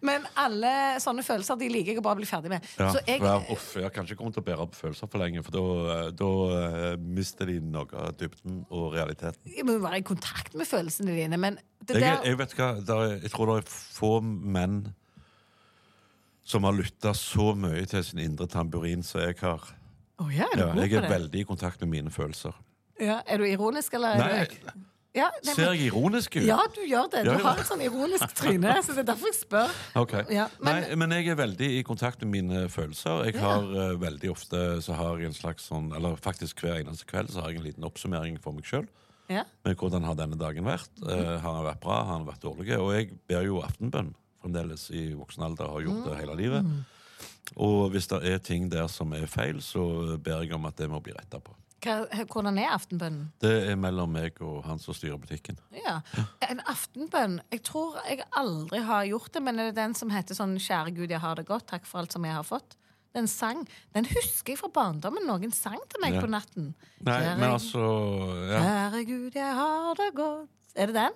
Speaker 4: Men alle sånne følelser de liker jeg å bare bli ferdig med.
Speaker 5: ja.
Speaker 4: Så jeg,
Speaker 5: Ja, uff, Jeg kan ikke komme til å bære opp følelser for lenge, for da, eh, da eh, mister de noe av dybden og realiteten.
Speaker 4: jeg må jo være i kontakt med følelsene dine, men det
Speaker 5: Jeg,
Speaker 4: der
Speaker 5: jeg vet hva, der, er- jeg tror det er få menn som har lytta så mye til sin indre tamburin som jeg har.
Speaker 4: Å ja, er du
Speaker 5: Ja,
Speaker 4: god
Speaker 5: jeg
Speaker 4: på
Speaker 5: er
Speaker 4: det?
Speaker 5: veldig i kontakt med mine følelser.
Speaker 4: Ja, er du ironisk, eller er
Speaker 5: Nei,
Speaker 4: du ja, nei,
Speaker 5: ser
Speaker 4: men-
Speaker 5: jeg ironisk ut?
Speaker 4: Ja, du gjør det.
Speaker 5: Ja,
Speaker 4: Du
Speaker 5: ja.
Speaker 4: har et sånn ironisk tryne, så det er derfor jeg spør.
Speaker 5: Ok.
Speaker 4: Ja, men-
Speaker 5: Nei, men jeg er veldig i kontakt med mine følelser. Jeg har eh, veldig ofte så har jeg en slags sånn, eller faktisk hver eneste kveld så har jeg en liten oppsummering for meg sjøl.
Speaker 4: Ja.
Speaker 5: Med hvordan har denne dagen vært? Eh, har den vært bra? Har
Speaker 4: Mm.
Speaker 5: den vært dårlig? Og jeg ber jo aftenbønn fremdeles i voksen alder, har gjort det hele livet. Og hvis det er ting der som er feil, så ber jeg om at det må bli retta på.
Speaker 4: Hva, hvordan er aftenbønnen?
Speaker 5: Det er mellom meg og han som styrer butikken.
Speaker 4: Ja. En aftenbønn. Jeg tror jeg aldri har gjort det, men er det den som heter sånn 'Kjære Gud, jeg har det godt. Takk for alt som jeg har fått'? Den sang. Den husker jeg fra barndommen. Noen sang til meg
Speaker 5: Ja.
Speaker 4: på natten.
Speaker 5: Nei,
Speaker 4: Kjære-
Speaker 5: men altså ja.
Speaker 4: Kjære Gud, jeg har det godt Er det den?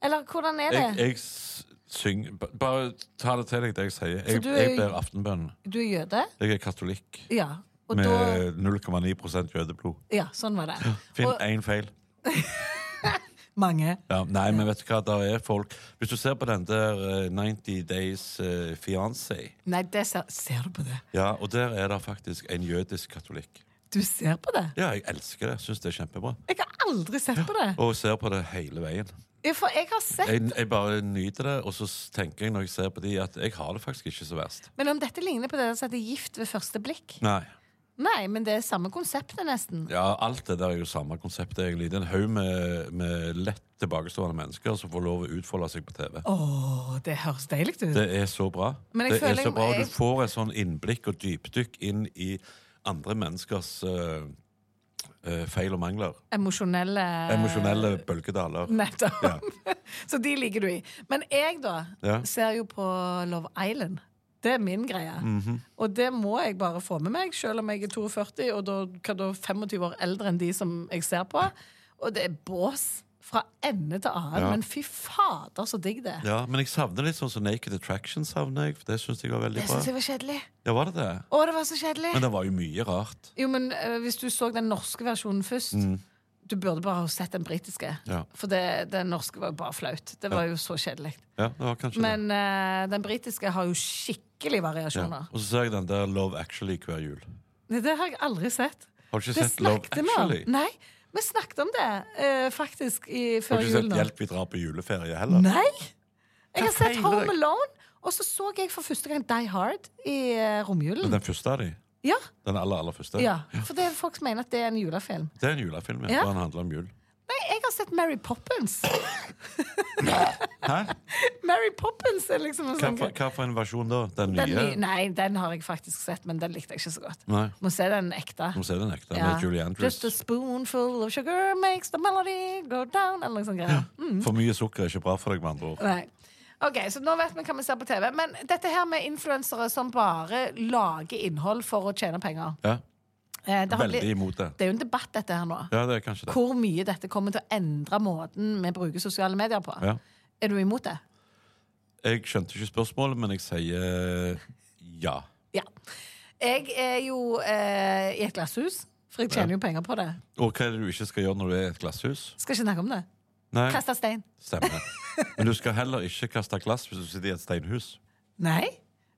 Speaker 4: Eller hvordan er det?
Speaker 5: Jeg, jeg s- syng ba- Bare ta det til deg, det jeg sier. Jeg,
Speaker 4: du er-
Speaker 5: jeg ber aftenbønn.
Speaker 4: Du er jøde?
Speaker 5: Jeg er katolikk
Speaker 4: Ja. Og
Speaker 5: med
Speaker 4: da
Speaker 5: 0,9 jødeblod.
Speaker 4: Ja, sånn var det.
Speaker 5: Finn
Speaker 4: Og-
Speaker 5: én feil.
Speaker 4: Mange.
Speaker 5: Ja, nei, men vet du hva, der er folk Hvis du ser på den der eh, 90 Days eh, Fiancé
Speaker 4: Nei, det ser, ser du på det?
Speaker 5: Ja, og der er det faktisk en jødisk katolikk.
Speaker 4: Du ser på det?
Speaker 5: Ja, jeg elsker det. Syns det er kjempebra.
Speaker 4: Jeg har aldri sett på det.
Speaker 5: Og ser på det hele veien.
Speaker 4: Ja, For jeg har sett
Speaker 5: Jeg, jeg bare nyter det, og så s- tenker jeg når jeg ser på de, at jeg har det faktisk ikke så verst.
Speaker 4: Men om dette ligner på det som heter Gift ved første blikk?
Speaker 5: Nei.
Speaker 4: Nei, men det er samme konseptet, nesten.
Speaker 5: Ja, alt det der er jo samme konseptet, egentlig. Det er en haug med, med lett tilbakestående mennesker som får lov å utfolde seg på TV.
Speaker 4: Å, det høres deilig ut.
Speaker 5: Det er så bra.
Speaker 4: Mm. Men jeg
Speaker 5: det er
Speaker 4: føler
Speaker 5: så
Speaker 4: jeg-
Speaker 5: bra. og
Speaker 4: jeg-
Speaker 5: Du får et sånn innblikk og dypdykk inn i andre menneskers eh, eh, feil og mangler.
Speaker 4: Emosjonelle
Speaker 5: Emosjonelle bølgedaler.
Speaker 4: Nettopp. Så de ligger du i. Men jeg, da,
Speaker 5: Ja.
Speaker 4: ser jo på Love Island. Det er min greie.
Speaker 5: Mhm.
Speaker 4: Og det må jeg bare få med meg, selv om jeg er 42 og da, hva da 25 år eldre enn de som jeg ser på. Og det er bås fra ende til annen. Men fy fader, så digg det er.
Speaker 5: Ja, men jeg savner litt sånn som Naked Attraction savner jeg. for Det syns jeg var veldig
Speaker 4: Det
Speaker 5: bra.
Speaker 4: syns jeg var kjedelig.
Speaker 5: Ja, var det det?
Speaker 4: Å, det var så kjedelig!
Speaker 5: Men det var jo mye rart.
Speaker 4: Jo, men eh, hvis du så den norske versjonen først Du burde bare ha sett den britiske.
Speaker 5: Mm. Ja.
Speaker 4: For det, den norske var jo bare flaut. Det var jo så kjedelig.
Speaker 5: Ja, det var kanskje det.
Speaker 4: Men eh, den britiske har jo skikkelig
Speaker 5: Ja.
Speaker 4: variasjoner.
Speaker 5: Og så ser jeg den der Love Actually hver jul.
Speaker 4: Nei, Det har jeg aldri sett.
Speaker 5: Har du ikke
Speaker 4: Det
Speaker 5: sett Love
Speaker 4: snakket vi om.
Speaker 5: Actually?
Speaker 4: Nei, vi snakket om det eh, faktisk i,
Speaker 5: Har
Speaker 4: før
Speaker 5: du ikke sett
Speaker 4: jul nå.
Speaker 5: Hjelp, vi drar på juleferie heller?
Speaker 4: Nei! Jeg har
Speaker 5: Hva
Speaker 4: sett
Speaker 5: feiler
Speaker 4: Home
Speaker 5: deg?
Speaker 4: Alone, og så så jeg for første gang Die Hard i eh, romjulen.
Speaker 5: Den første av de?
Speaker 4: Ja,
Speaker 5: Den aller, aller første?
Speaker 4: ja, for det, folk som mener at det er en julefilm.
Speaker 5: Det er en julefilm,
Speaker 4: Ja.
Speaker 5: ja. Den handler om jul.
Speaker 4: Nei, jeg har sett Mary Poppins.
Speaker 5: Hæ?
Speaker 4: Mary Poppins er liksom en
Speaker 5: Hva
Speaker 4: sånn
Speaker 5: for, hva for en versjon da? Den nye?
Speaker 4: den, ny- Nei, den har jeg faktisk sett, men den likte jeg ikke så godt.
Speaker 5: Nei.
Speaker 4: Må se den ekte.
Speaker 5: Må se den ekte, med
Speaker 4: Ja.
Speaker 5: Julie Andrews.
Speaker 4: Just a spoonful of sugar makes the melody go down, eller noe sånt greier. Mm.
Speaker 5: For mye sukker er ikke bra for deg, med andre ord.
Speaker 4: Nei. Ok, så nå vet vi hva vi ser på TV. Men dette her med influensere som bare lager innhold for å tjene penger
Speaker 5: Ja.
Speaker 4: eh, det, handler-
Speaker 5: Veldig imot det.
Speaker 4: det er jo en debatt, dette her nå.
Speaker 5: Ja, det er kanskje det.
Speaker 4: Hvor mye dette kommer til å endre måten vi bruker sosiale medier på.
Speaker 5: Ja.
Speaker 4: Er du imot det?
Speaker 5: Jeg skjønte ikke spørsmålet, men jeg sier eh, ja.
Speaker 4: Ja. Jeg er jo eh, i et glasshus, for jeg tjener jo penger på det.
Speaker 5: Og hva er det du ikke skal gjøre når du er i et glasshus?
Speaker 4: Skal ikke snakke om det.
Speaker 5: Nei,
Speaker 4: Kaste stein.
Speaker 5: stemmer. Men du skal heller ikke kaste glass hvis du sitter i et steinhus.
Speaker 4: Nei,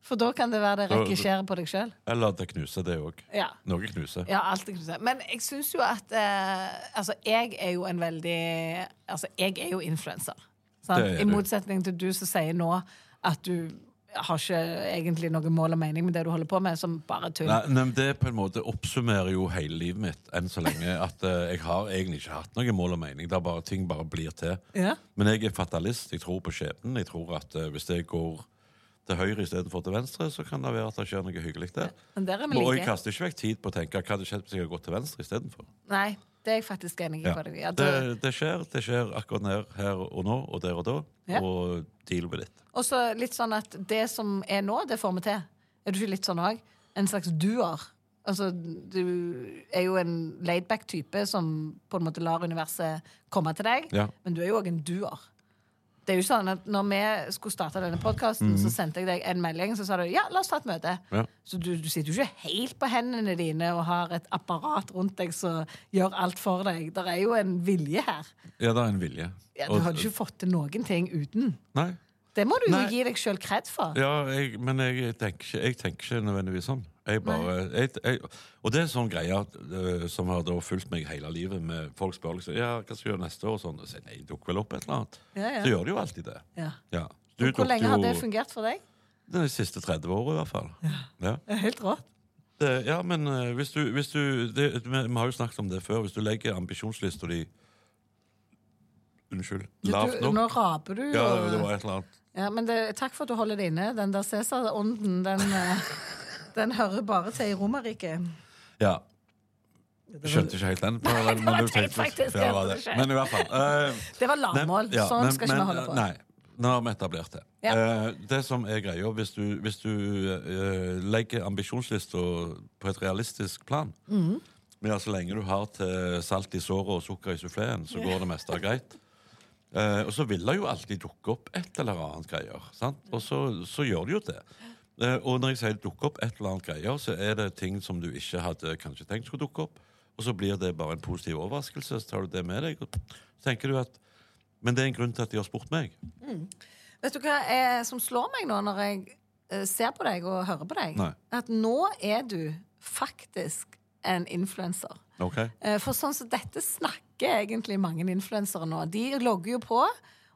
Speaker 4: for da kan det være det
Speaker 5: Da-
Speaker 4: rekkeskjærer på deg sjøl.
Speaker 5: Eller at det knuser, det òg.
Speaker 4: Ja.
Speaker 5: Noe knuser.
Speaker 4: Ja, alt det kan du si. Men jeg syns jo at eh, Altså, jeg er jo en veldig Altså, jeg er jo influenser. sant?
Speaker 5: Det er
Speaker 4: I
Speaker 5: du.
Speaker 4: motsetning til du som sier nå at du har ikke egentlig noe mål og mening med det du holder på med, som bare tull.
Speaker 5: Nei, nei, men Det på en måte oppsummerer jo hele livet mitt enn så lenge. At eh, jeg har egentlig ikke hatt noe mål og mening. Det er bare, ting bare blir til.
Speaker 4: Ja.
Speaker 5: Men jeg er fatalist. Jeg tror på skjebnen. Jeg tror at eh, hvis jeg går til høyre istedenfor til venstre, så kan det være at det skjer noe hyggelig der.
Speaker 4: Men der er vi
Speaker 5: og jeg
Speaker 4: like.
Speaker 5: kaster ikke vekk tid på å tenke hva hadde skjedd hvis jeg hadde gått til venstre istedenfor.
Speaker 4: Nei, det er jeg faktisk enig i.
Speaker 5: Ja.
Speaker 4: på deg. Ja,
Speaker 5: Det,
Speaker 4: det-
Speaker 5: det skjer. Det skjer akkurat nær her og nå og der og da.
Speaker 4: Ja.
Speaker 5: Og deal with it.
Speaker 4: Og så litt sånn at det som er nå, det får vi til. Er du ikke litt sånn òg? En slags duer. Altså, du er jo en laidback type som på en måte lar universet komme til deg,
Speaker 5: Ja.
Speaker 4: men du er jo òg en duer. Det er jo sånn at når vi skulle starte denne podkasten, så sendte jeg deg en melding, så sa du ja, la oss ta et møte.
Speaker 5: Mhm. Ja.
Speaker 4: Så du, du sitter jo ikke helt på hendene dine og har et apparat rundt deg som gjør alt for deg. Det er jo en vilje her.
Speaker 5: Ja, det er en vilje.
Speaker 4: Ja, du
Speaker 5: Og-
Speaker 4: hadde ikke fått til noen ting uten.
Speaker 5: Nei.
Speaker 4: Det må du jo
Speaker 5: Nei.
Speaker 4: gi deg sjøl kred for.
Speaker 5: Ja, jeg, men jeg tenker, ikke, jeg tenker ikke nødvendigvis sånn. Jeg bare, jeg, jeg, og det er sånn greie at, øh, som har da fulgt meg hele livet. Med folk spør liksom, ja, hva skal jeg gjøre neste år. Og sånn, og sier, nei, det dukker vel opp et eller annet.
Speaker 4: Ja, ja.
Speaker 5: Så gjør det jo alltid det.
Speaker 4: Ja.
Speaker 5: Ja. Du
Speaker 4: Men Hvor
Speaker 5: tok
Speaker 4: lenge
Speaker 5: jo
Speaker 4: har det fungert for deg?
Speaker 5: De siste 30 årene, i hvert fall. Ja.
Speaker 4: Det er Helt rått.
Speaker 5: Det, ja, men øh, hvis du, hvis du det, Vi vi har jo snakket om det før. Hvis du legger ambisjonslista di Unnskyld.
Speaker 4: Du,
Speaker 5: Lavt
Speaker 4: nå
Speaker 5: nok.
Speaker 4: raper du.
Speaker 5: Ja,
Speaker 4: og-
Speaker 5: det var et eller annet.
Speaker 4: ja, men det, takk for at du holder det inne. Den der Cæsar-ånden, den eh, Den hører bare til i Romerriket.
Speaker 5: Ja. Jeg skjønte ikke helt den. parallellen,
Speaker 4: det
Speaker 5: men
Speaker 4: var
Speaker 5: du
Speaker 4: teit
Speaker 5: tenkte-
Speaker 4: faktisk,
Speaker 5: Ja, det var
Speaker 4: det
Speaker 5: det.
Speaker 4: skjer.
Speaker 5: Men i hvert fall. eh,
Speaker 4: Det var lavmål.
Speaker 5: nei, ja,
Speaker 4: sånn
Speaker 5: men-
Speaker 4: skal ikke vi
Speaker 5: men,
Speaker 4: holde på.
Speaker 5: eh, Nei. Nå har vi etablert det.
Speaker 4: Ja.
Speaker 5: Eh, det som er greia, hvis du, hvis du eh, legger ambisjonslista på et realistisk plan
Speaker 4: Mhm.
Speaker 5: Men ja, så lenge du har til salt i såret og sukker i suffleen, så går det meste av greit. Eh, og så vil det jo alltid dukke opp et eller annet greier. Sant? Og så, så gjør det jo det. Eh, og når jeg sier dukke opp et eller annet greier, så er det ting som du ikke hadde kanskje tenkt skulle dukke opp. Og så blir det bare en positiv overraskelse, så tar du det med deg. Og så tenker du at Men det er en grunn til at de har spurt meg.
Speaker 4: Vet du hva eh, som slår meg nå når jeg eh, ser på deg og hører på deg?
Speaker 5: Nei.
Speaker 4: At nå er du faktisk en influenser.
Speaker 5: Ok?
Speaker 4: Eh, For sånn som dette snakker egentlig mange influensere nå. De logger jo på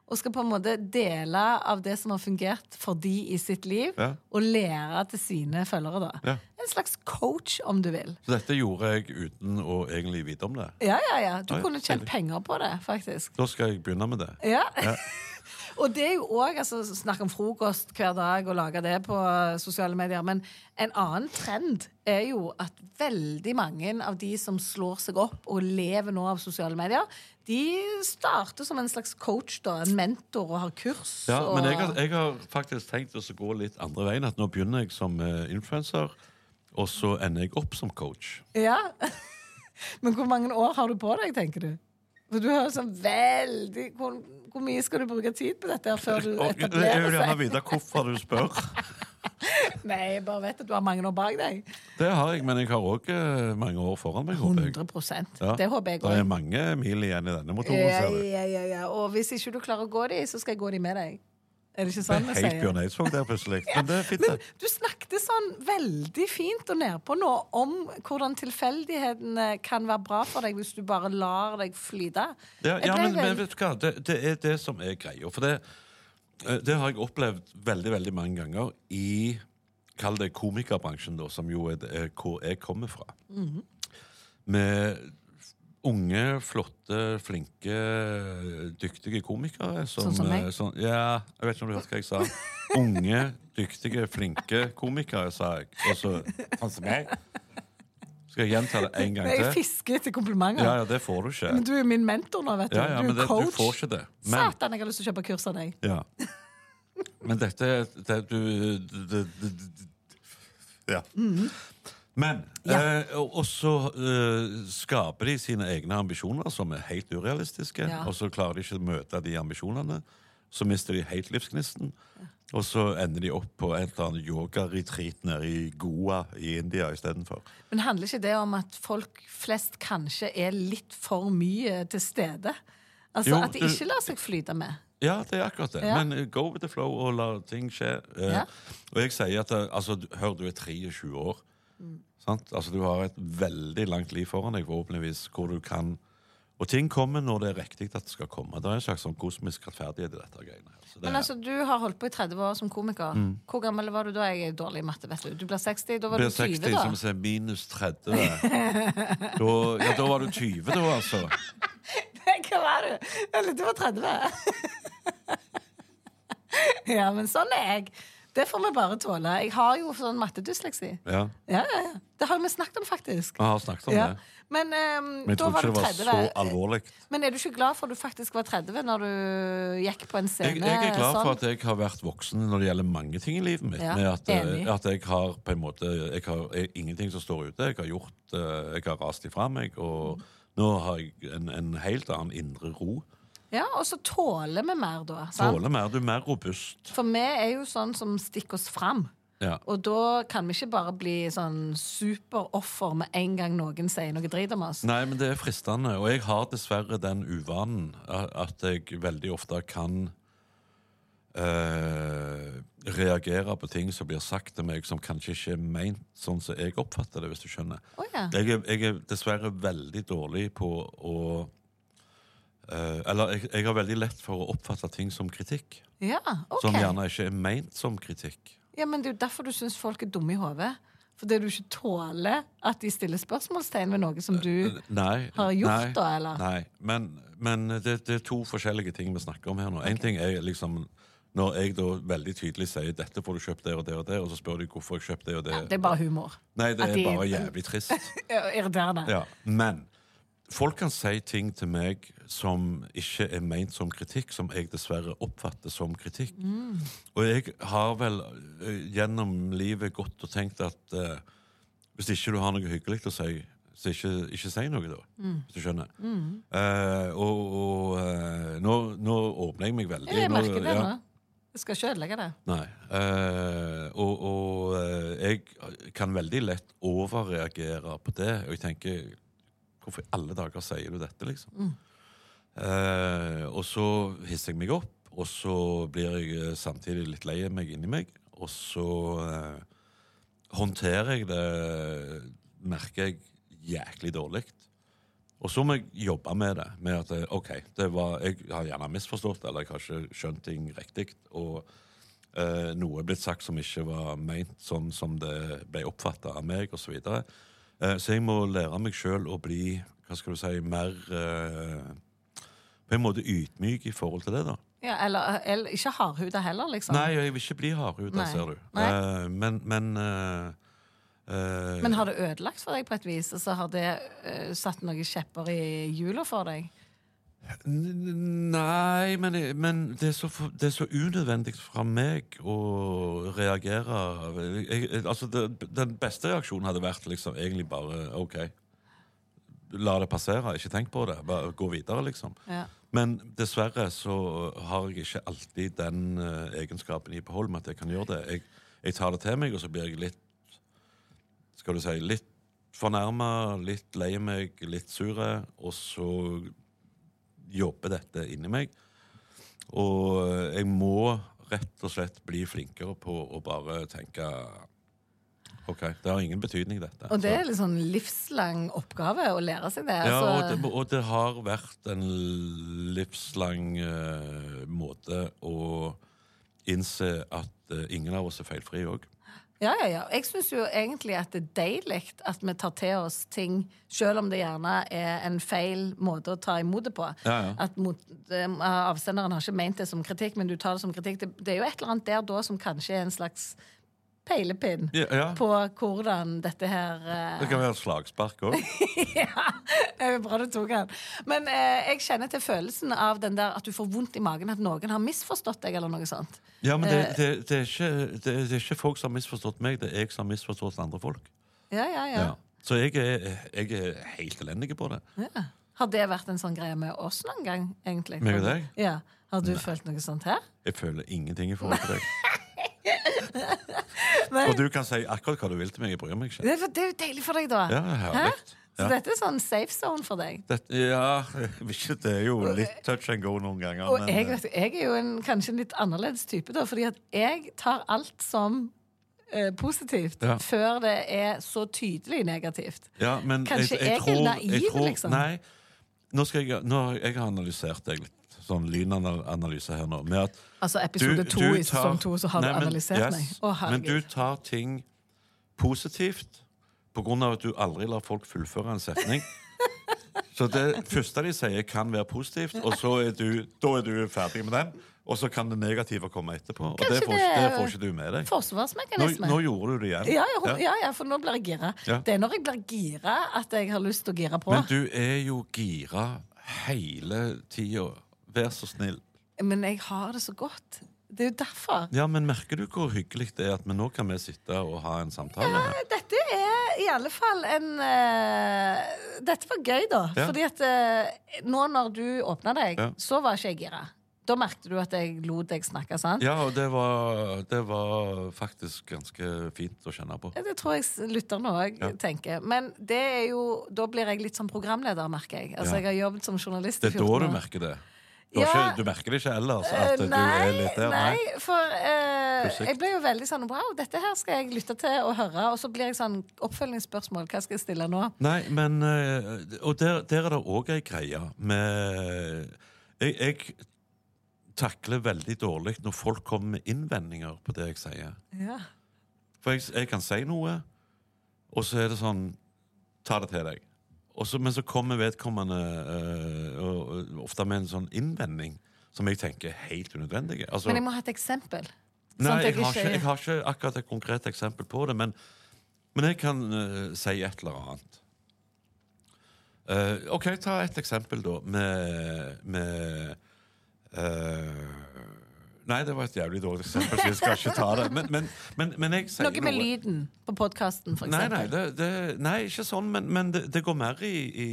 Speaker 4: og skal på en måte dele av det som har fungert for de i sitt liv,
Speaker 5: Ja.
Speaker 4: og lære til sine følgere. da.
Speaker 5: Ja.
Speaker 4: En slags coach, om du vil.
Speaker 5: Så dette gjorde jeg uten å egentlig vite om det.
Speaker 4: Ja, ja, ja. Du
Speaker 5: Ja, ja,
Speaker 4: kunne tjent
Speaker 5: veldig.
Speaker 4: penger på det, faktisk.
Speaker 5: Da skal jeg begynne med det.
Speaker 4: Ja. og det er jo òg altså, Snakk om frokost hver dag og lage det på eh, sosiale medier. Men en annen trend er jo at veldig mange av de som slår seg opp og lever nå av sosiale medier, de starter som en slags coach, da, en mentor, og har kurs.
Speaker 5: Ja,
Speaker 4: og...
Speaker 5: men jeg har, jeg har faktisk tenkt å så gå litt andre veien. At nå begynner jeg som eh, influenser, og så ender jeg opp som coach.
Speaker 4: Ja. men hvor mange år har du på deg, tenker du? For du har jo sånn veldig hvor, hvor mye skal du bruke tid på dette her før du
Speaker 5: Og jeg
Speaker 4: etablerer
Speaker 5: vil gjerne
Speaker 4: seg?
Speaker 5: vite hvorfor du spør.
Speaker 4: Nei, jeg bare vet at du har mange år bak deg.
Speaker 5: Det har jeg, men jeg har òg mange år foran meg. håper jeg.
Speaker 4: 100
Speaker 5: Ja.
Speaker 4: Det håper jeg
Speaker 5: Det er
Speaker 4: òg.
Speaker 5: mange mil igjen i denne motoren,
Speaker 4: Ja,
Speaker 5: ser du.
Speaker 4: ja, ja, ja. Og hvis ikke du klarer å gå de, så skal jeg gå de med deg. Er det ikke
Speaker 5: Det
Speaker 4: sånn
Speaker 5: er
Speaker 4: vi
Speaker 5: helt
Speaker 4: sier?
Speaker 5: Bjørn Eidsvåg der plutselig. Men det er fint,
Speaker 4: Men
Speaker 5: det.
Speaker 4: du snakket sånn veldig fint og nedpå nå om hvordan tilfeldighetene kan være bra for deg hvis du bare lar deg flyte.
Speaker 5: Ja,
Speaker 4: Jeg
Speaker 5: ja
Speaker 4: ble
Speaker 5: men, men
Speaker 4: veldig-
Speaker 5: vet du hva, det, det er det som er greia. For det, eh, det har jeg opplevd veldig veldig mange ganger i Kall det komikerbransjen, da, som jo er, det, er hvor jeg kommer fra.
Speaker 4: Mhm.
Speaker 5: Med unge, flotte, flinke, dyktige komikere som
Speaker 4: Sånn som meg?
Speaker 5: eh, Sånn, ja, jeg vet ikke om du hørte hva jeg sa. Unge, dyktige, flinke komikere, sa jeg. Og så Sånn som meg? Skal jeg gjenta det en gang
Speaker 4: Jeg
Speaker 5: til?
Speaker 4: fisker etter komplimenter.
Speaker 5: Ja, ja, det får du ikke.
Speaker 4: Men du er min mentor nå, vet du.
Speaker 5: Ja, ja,
Speaker 4: du
Speaker 5: men
Speaker 4: er
Speaker 5: det,
Speaker 4: coach.
Speaker 5: du får ikke det. Men,
Speaker 4: Satan, jeg har lyst til å kjøpe kurs av deg.
Speaker 5: ja. men dette det, du, det, det, det, Ja.
Speaker 4: Mhm.
Speaker 5: Men eh, og- Og så eh, skaper de sine egne ambisjoner som er helt urealistiske.
Speaker 4: Ja.
Speaker 5: Og så klarer de ikke å møte de ambisjonene. Så mister de helt livsgnisten. Og så ender de opp på et eller annet yoga-retreat nede i Goa i India istedenfor.
Speaker 4: Men handler ikke det om at folk flest kanskje er litt for mye til stede? Altså
Speaker 5: Jo,
Speaker 4: At de
Speaker 5: du-
Speaker 4: ikke lar seg flyte med?
Speaker 5: Ja, det er akkurat det.
Speaker 4: Ja.
Speaker 5: Men eh, go with the flow og la ting skje. Eh,
Speaker 4: Ja.
Speaker 5: Og jeg sier at eh, altså, du- hør, du er 23 år.
Speaker 4: Mm.
Speaker 5: Sant? Altså, du har et veldig langt liv foran deg, forhåpentligvis, hvor du kan Og ting kommer når det er riktig at det skal komme. Det er en slags sånn kosmisk rettferdighet i dette. greiene her. Så det,
Speaker 4: Men altså, Du har holdt på i 30 år som komiker. Hvor gammel var du da? Jeg er dårlig i matte. vet Du Du blir 60, da var
Speaker 5: Mm. blir
Speaker 4: du 20.
Speaker 5: 60, som
Speaker 4: da
Speaker 5: sier minus 30. da, ja, da var du 20, da, altså.
Speaker 4: Hva var du? Eller du var 30. ja, men sånn er jeg. Det får vi bare tåle. Jeg har jo sånn mattedysleksi.
Speaker 5: Ja,
Speaker 4: Ja, ja, ja. Det har jo vi snakket om, faktisk.
Speaker 5: Vi har snakket om
Speaker 4: Ja.
Speaker 5: sånn det.
Speaker 4: Men, ehm,
Speaker 5: Men jeg
Speaker 4: da
Speaker 5: tror
Speaker 4: var
Speaker 5: ikke
Speaker 4: du
Speaker 5: det var
Speaker 4: 30.
Speaker 5: så alvorlig.
Speaker 4: Men er du ikke glad for at du faktisk var 30 når du gikk på en
Speaker 5: Jeg,
Speaker 4: scene?
Speaker 5: jeg er glad for
Speaker 4: sånn?
Speaker 5: at jeg har vært voksen når det gjelder mange ting i livet mitt.
Speaker 4: Ja,
Speaker 5: med at, eh,
Speaker 4: enig.
Speaker 5: at jeg har på en måte jeg har, jeg, ingenting som står ute. Jeg har gjort eh, Jeg har rast ifra meg, og
Speaker 4: Mm.
Speaker 5: nå har jeg en, en helt annen indre ro.
Speaker 4: Ja, Og så tåler vi mer, da. Sant?
Speaker 5: Tåler mer. Du er mer robust.
Speaker 4: For vi er jo sånn som stikker oss fram.
Speaker 5: Ja.
Speaker 4: Og da kan vi ikke bare bli sånn superoffer med en gang noen sier noe drit om oss.
Speaker 5: Nei, men det er fristende, og jeg har dessverre den uvanen a- at jeg veldig ofte kan eh, reagere på ting som blir sagt til meg som kanskje ikke er meint sånn som jeg oppfatter det, hvis du skjønner.
Speaker 4: Å, ja.
Speaker 5: jeg, er, jeg er dessverre veldig dårlig på å eh, Eller jeg, jeg har veldig lett for å oppfatte ting som kritikk.
Speaker 4: Ja, ok.
Speaker 5: Som Sånn gjerne ikke er meint som kritikk.
Speaker 4: Ja, men Det er jo derfor du syns folk er dumme i hodet. Fordi du ikke tåler at de stiller spørsmålstegn ved noe som
Speaker 5: Eh,
Speaker 4: du
Speaker 5: Nei.
Speaker 4: har gjort
Speaker 5: nei,
Speaker 4: da, eller?
Speaker 5: Nei, men, men det, det er to forskjellige ting vi snakker om her nå. En ting er liksom Når jeg da veldig tydelig sier dette får du kjøpt der og der, og der, og så spør de hvorfor jeg kjøpte det og det.
Speaker 4: Det er bare humor.
Speaker 5: Nei, det
Speaker 4: At
Speaker 5: er
Speaker 4: de-
Speaker 5: bare jævlig trist.
Speaker 4: Ja, Irriterende.
Speaker 5: Ja, men folk kan si ting til meg som ikke er ment som kritikk, som jeg dessverre oppfatter som kritikk.
Speaker 4: Mm.
Speaker 5: Og jeg har vel eh, gjennom livet gått og tenkt at eh, hvis ikke du har noe hyggelig å si, så ikke, ikke si noe, da.
Speaker 4: Mm.
Speaker 5: Hvis du skjønner. Eh, og og eh, nå, nå åpner jeg meg veldig.
Speaker 4: Jeg
Speaker 5: Nå-
Speaker 4: merker det
Speaker 5: ja.
Speaker 4: nå. Jeg skal ikke ødelegge det.
Speaker 5: Nei. eh, og og eh, jeg kan veldig lett overreagere på det. Og jeg tenker Hvorfor i alle dager sier du dette, liksom? Eh, og så hisser jeg meg opp, og så blir jeg eh, samtidig litt lei meg inni meg. Og så eh, håndterer jeg det, merker jeg, jæklig dårlig. Og så må jeg jobbe med det. Med at eh, ok, det var, jeg har gjerne misforstått, eller jeg har ikke skjønt ting riktig. Og eh, noe er blitt sagt som ikke var ment sånn som det ble oppfatta av meg, osv. Så, videre. eh, så jeg må lære meg sjøl å bli hva skal du si, mer eh, på en måte ydmyk i forhold til det. da.
Speaker 4: Ja, eller, eh, eller ikke hardhuda heller, liksom.
Speaker 5: Nei, jeg vil ikke bli hardhuda,
Speaker 4: Nei.
Speaker 5: ser du.
Speaker 4: Nei.
Speaker 5: Eh, men men eh, eh,
Speaker 4: Men har det ødelagt for deg på et vis? Altså, har det eh, satt noen kjepper i hjula for deg?
Speaker 5: N- n- Nei, men, eh, men det, er så, for- det er så unødvendig fra meg å reagere. Jeg, jeg, altså det, den beste reaksjonen hadde vært liksom egentlig bare OK. La det passere, ikke tenk på det. Bare gå videre, liksom.
Speaker 4: Ja.
Speaker 5: Men dessverre så har jeg ikke alltid den eh, egenskapen i behold med at jeg kan gjøre det. Jeg, jeg tar det til meg, og så blir jeg litt Skal du si litt fornærma, litt lei meg, litt sur, og så jobber dette inni meg. Og eh, jeg må rett og slett bli flinkere på å bare tenke OK, det har ingen betydning, dette.
Speaker 4: Og det er litt sånn livslang oppgave å lære seg det.
Speaker 5: Ja, og
Speaker 4: altså.
Speaker 5: det, og det har vært en livslang eh, måte å innse at eh, ingen av oss er feilfrie òg.
Speaker 4: ja, ja, ja. Jeg syns jo egentlig at det er deilig at vi tar til oss ting, selv om det gjerne er en feil måte å ta imot det på.
Speaker 5: Ja, ja.
Speaker 4: At mot, eh, avsenderen har ikke ment det som kritikk, men du tar det som kritikk. Det, det er jo et eller annet der da som kanskje er en slags peilepinn
Speaker 5: Ja, ja.
Speaker 4: på hvordan dette her eh,
Speaker 5: Det kan være et slagspark òg.
Speaker 4: Ja, det er bra du tok den. Men eh, jeg kjenner til følelsen av den der at du får vondt i magen at noen har misforstått deg. eller noe sånt.
Speaker 5: Ja, men det,
Speaker 4: Eh.
Speaker 5: det, det, er ikke, det, det er ikke folk som har misforstått meg, det er jeg som har misforstått andre folk.
Speaker 4: Ja, ja, ja.
Speaker 5: Ja. Så jeg er, jeg er helt elendig på det.
Speaker 4: ja. Har det vært en sånn greie med oss noen gang? egentlig?
Speaker 5: Meg og deg?
Speaker 4: Ja. Har du følt noe sånt her?
Speaker 5: Jeg føler ingenting i forhold til deg. Og du kan si akkurat hva du vil til meg. Jeg bryr meg ikke.
Speaker 4: Det er, for, det er jo deilig for deg, da.
Speaker 5: Ja, herlig.
Speaker 4: Så
Speaker 5: Ja.
Speaker 4: dette er sånn safe zone for deg.
Speaker 5: Dette, ja, ikke det er jo litt touch and go noen ganger.
Speaker 4: Og jeg,
Speaker 5: eh,
Speaker 4: vet, du, jeg er jo en, kanskje en litt annerledes type, da, fordi at jeg tar alt som eh, positivt
Speaker 5: Ja.
Speaker 4: før det er så tydelig negativt.
Speaker 5: Ja, men
Speaker 4: Kanskje jeg,
Speaker 5: tror-
Speaker 4: er naiv,
Speaker 5: jeg tror,
Speaker 4: liksom.
Speaker 5: Nei, nå skal jeg, nå, har jeg har analysert deg litt. Sånn lynanalyse her nå. Med at
Speaker 4: Altså, episode to i sesong to, så har du
Speaker 5: men-
Speaker 4: analysert meg. Å, herregud.
Speaker 5: men du tar ting positivt på grunn av at du aldri lar folk fullføre en setning. Så det første de sier, kan være positivt, og så er du, da er du ferdig med den. Og så kan det negative komme etterpå. Og det
Speaker 4: Kanskje
Speaker 5: får, ikke, det
Speaker 4: det-
Speaker 5: får ikke du med deg. Nå,
Speaker 4: Forsvarsmekanisme.
Speaker 5: nå gjorde du det igjen.
Speaker 4: ja, ja, hun- ja, ja, for nå blir jeg gira.
Speaker 5: Ja.
Speaker 4: Det er når jeg blir gira at jeg har lyst til å gire på.
Speaker 5: Men
Speaker 4: Men,
Speaker 5: du er jo gira hele tida. Vær så snill.
Speaker 4: jeg har det så godt. Det er jo derfor.
Speaker 5: Ja, men Merker du hvor hyggelig det er at vi nå kan vi sitte og ha en samtale? her?
Speaker 4: Eh, Dette er i alle fall en eh, Dette var gøy, da.
Speaker 5: Ja.
Speaker 4: Fordi at eh, nå når du åpna deg,
Speaker 5: Ja.
Speaker 4: så var ikke jeg gira. Da merket du at jeg lot deg snakke, sant?
Speaker 5: Ja, og det var, det var faktisk ganske fint å kjenne på.
Speaker 4: Ja, Det tror jeg s- lytterne òg tenker. Men det er jo, da blir jeg litt som programleder, merker jeg. Altså, Jeg
Speaker 5: Ja.
Speaker 4: har jobbet som journalist i
Speaker 5: Det er
Speaker 4: 14
Speaker 5: da du
Speaker 4: år.
Speaker 5: merker det. Du, har
Speaker 4: Ja.
Speaker 5: ikke, du merker det ikke ellers?
Speaker 4: Eh,
Speaker 5: At du er litt der?
Speaker 4: nei, for eh,
Speaker 5: Prosjekt.
Speaker 4: jeg ble jo veldig sånn Wow, dette her skal jeg lytte til og høre. Og så blir jeg sånn Oppfølgingsspørsmål, hva skal jeg stille nå?
Speaker 5: Nei, men eh, Og der, der er det òg ei greie med jeg, jeg takler veldig dårlig når folk kommer med innvendinger på det jeg sier.
Speaker 4: Ja.
Speaker 5: For jeg, jeg kan si noe, og så er det sånn Ta det til deg. Og så, men så kommer vedkommende eh, og, og, ofte med en sånn innvending som jeg tenker er helt unødvendige. Altså,
Speaker 4: Men jeg må ha et eksempel. Sånn
Speaker 5: Nei,
Speaker 4: at
Speaker 5: jeg har, ikke,
Speaker 4: ikke-
Speaker 5: jeg har ikke akkurat et konkret eksempel på det, men, men jeg kan eh, si et eller annet. Eh, OK, ta et eksempel, da, med, med eh, Nei, det var et jævlig dårlig eksempel, så jeg skal ikke ta det. Men, men, men, men jeg sier
Speaker 4: Noe med lyden på podkasten, for
Speaker 5: Nei,
Speaker 4: eksempel.
Speaker 5: nei, det, det, nei, ikke sånn, men, men det, det går mer i, i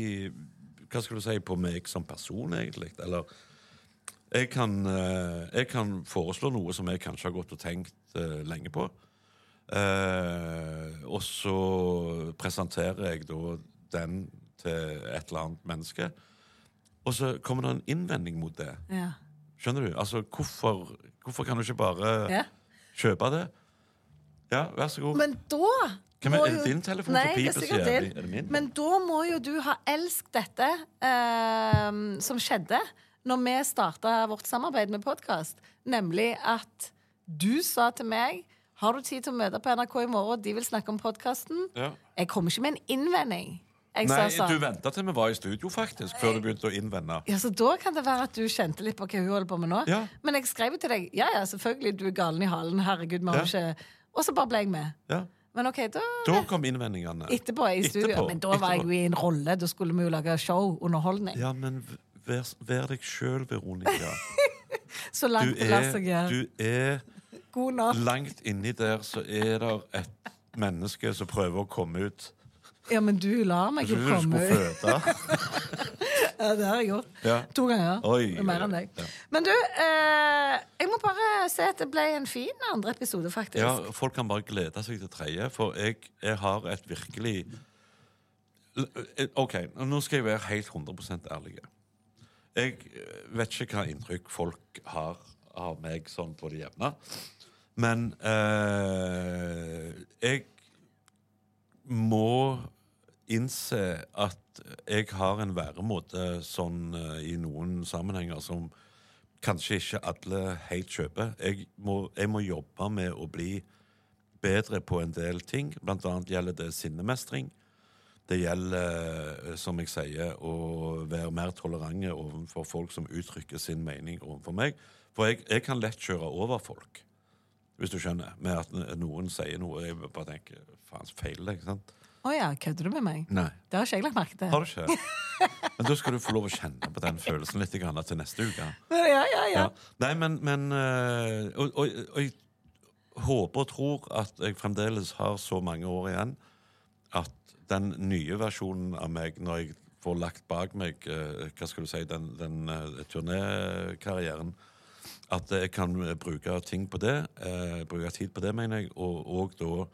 Speaker 5: Hva skal du si på meg som person, egentlig? Eller jeg kan, eh, jeg kan foreslå noe som jeg kanskje har gått og tenkt eh, lenge på. Eh, og så presenterer jeg da den til et eller annet menneske. Og så kommer det en innvending mot det.
Speaker 4: Ja.
Speaker 5: Skjønner du? Altså, hvorfor, hvorfor kan du ikke bare
Speaker 4: Ja.
Speaker 5: kjøpe det? Ja, vær så god.
Speaker 4: Men da
Speaker 5: Hvem er-
Speaker 4: må
Speaker 5: er det din telefon som
Speaker 4: Nei, det er
Speaker 5: piper så
Speaker 4: sikkert
Speaker 5: jævlig?
Speaker 4: din.
Speaker 5: Er det min?
Speaker 4: Men da må jo du ha elsket dette ehm, som skjedde når vi starta vårt samarbeid med podkast, nemlig at du sa til meg har du tid til å møte på NRK i morgen, de vil snakke om podkasten?
Speaker 5: Ja.
Speaker 4: Jeg kom ikke med en innvending. Jeg
Speaker 5: Nei,
Speaker 4: sa
Speaker 5: du
Speaker 4: sånn.
Speaker 5: venta til vi var i studio, faktisk, før du begynte å innvende.
Speaker 4: Ja, så Da kan det være at du kjente litt på hva hun holder på med nå.
Speaker 5: Ja.
Speaker 4: Men jeg skrev jo til deg ja, ja, selvfølgelig, du er galen i halen. herregud, vi har jo ikke... Og så bare ble jeg med.
Speaker 5: Ja.
Speaker 4: Men OK, da
Speaker 5: Da kom innvendingene.
Speaker 4: Etterpå er jeg i studio.
Speaker 5: Etterpå.
Speaker 4: Men da var jeg jo i en rolle. Da skulle vi jo lage show, underholdning.
Speaker 5: Ja, men v- vær, vær deg sjøl, Veronica.
Speaker 4: Så
Speaker 5: Du
Speaker 4: langt det lar
Speaker 5: er,
Speaker 4: seg gjøre.
Speaker 5: du er
Speaker 4: God natt.
Speaker 5: Langt inni der så er det et menneske som prøver å komme ut.
Speaker 4: Ja, men du lar meg
Speaker 5: Jeg
Speaker 4: jo
Speaker 5: trodde du
Speaker 4: komme
Speaker 5: skulle
Speaker 4: ut.
Speaker 5: føde.
Speaker 4: Ja, det har jeg gjort.
Speaker 5: Ja.
Speaker 4: To ganger.
Speaker 5: Oi,
Speaker 4: Det er Mer
Speaker 5: oi,
Speaker 4: enn
Speaker 5: oi.
Speaker 4: deg. Men du, eh, jeg må bare si at det ble en fin andre episode, faktisk.
Speaker 5: Ja, folk kan bare glede seg til tredje, for jeg, jeg har et virkelig L- eh, OK, nå skal jeg være helt 100 ærlig. Jeg eh, vet ikke hva inntrykk folk har av meg sånn på det jevne, men eh, jeg må innse at jeg har en væremåte sånn eh, i noen sammenhenger som kanskje ikke alle helt kjøper. Jeg må, jeg må jobbe med å bli bedre på en del ting. Blant annet gjelder det sinnemestring. Det gjelder, eh, som jeg sier, å være mer tolerante overfor folk som uttrykker sin mening overfor meg. For jeg, jeg kan lett kjøre over folk, hvis du skjønner, med at n- noen sier noe. og Jeg bare tenker faen, så feil det, ikke sant?
Speaker 4: Å ja, kødder du med meg?
Speaker 5: Nei.
Speaker 4: Det har ikke jeg lagt merke til.
Speaker 5: Har du ikke? Men da skal du få lov å kjenne på den følelsen litt grann til neste uke.
Speaker 4: Ja, ja, ja.
Speaker 5: Ja. Nei, men, men øh, og, og, og jeg håper og tror at jeg fremdeles har så mange år igjen at den nye versjonen av meg, når jeg får lagt bak meg øh, hva skal du si, den, den øh, turnékarrieren At jeg kan øh, bruke ting på det, øh, bruke tid på det, mener jeg, og, og da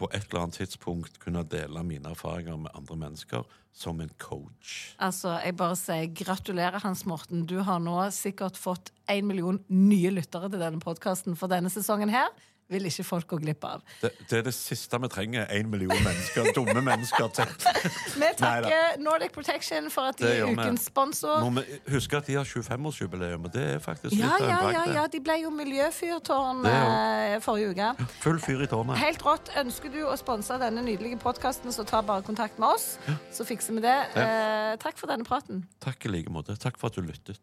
Speaker 5: på et eller annet tidspunkt kunne dele mine erfaringer med andre mennesker som en coach.
Speaker 4: Altså, jeg bare sier gratulerer, Hans Morten. Du har nå sikkert fått én million nye lyttere til denne podkasten for denne sesongen her. Vil ikke folk gå glipp av.
Speaker 5: Det, det er det siste vi trenger. Én million mennesker, dumme mennesker. Til.
Speaker 4: Vi takker Nordic Protection for at de
Speaker 5: Det
Speaker 4: er
Speaker 5: gjør vi.
Speaker 4: ukens sponsor.
Speaker 5: Må vi huske at de har 25-årsjubileum, og det er faktisk litt
Speaker 4: Ja,
Speaker 5: av en
Speaker 4: ja, ja,
Speaker 5: bragd.
Speaker 4: ja.
Speaker 5: det.
Speaker 4: De ble jo miljøfyrtårn
Speaker 5: Det
Speaker 4: eh,
Speaker 5: er
Speaker 4: forrige uke.
Speaker 5: Full fyr i tårnet.
Speaker 4: Helt rått. Ønsker du å sponse denne nydelige podkasten, så ta bare kontakt med oss, så fikser vi det. Eh, takk for denne praten.
Speaker 5: Takk i like måte. Takk for at du lyttet.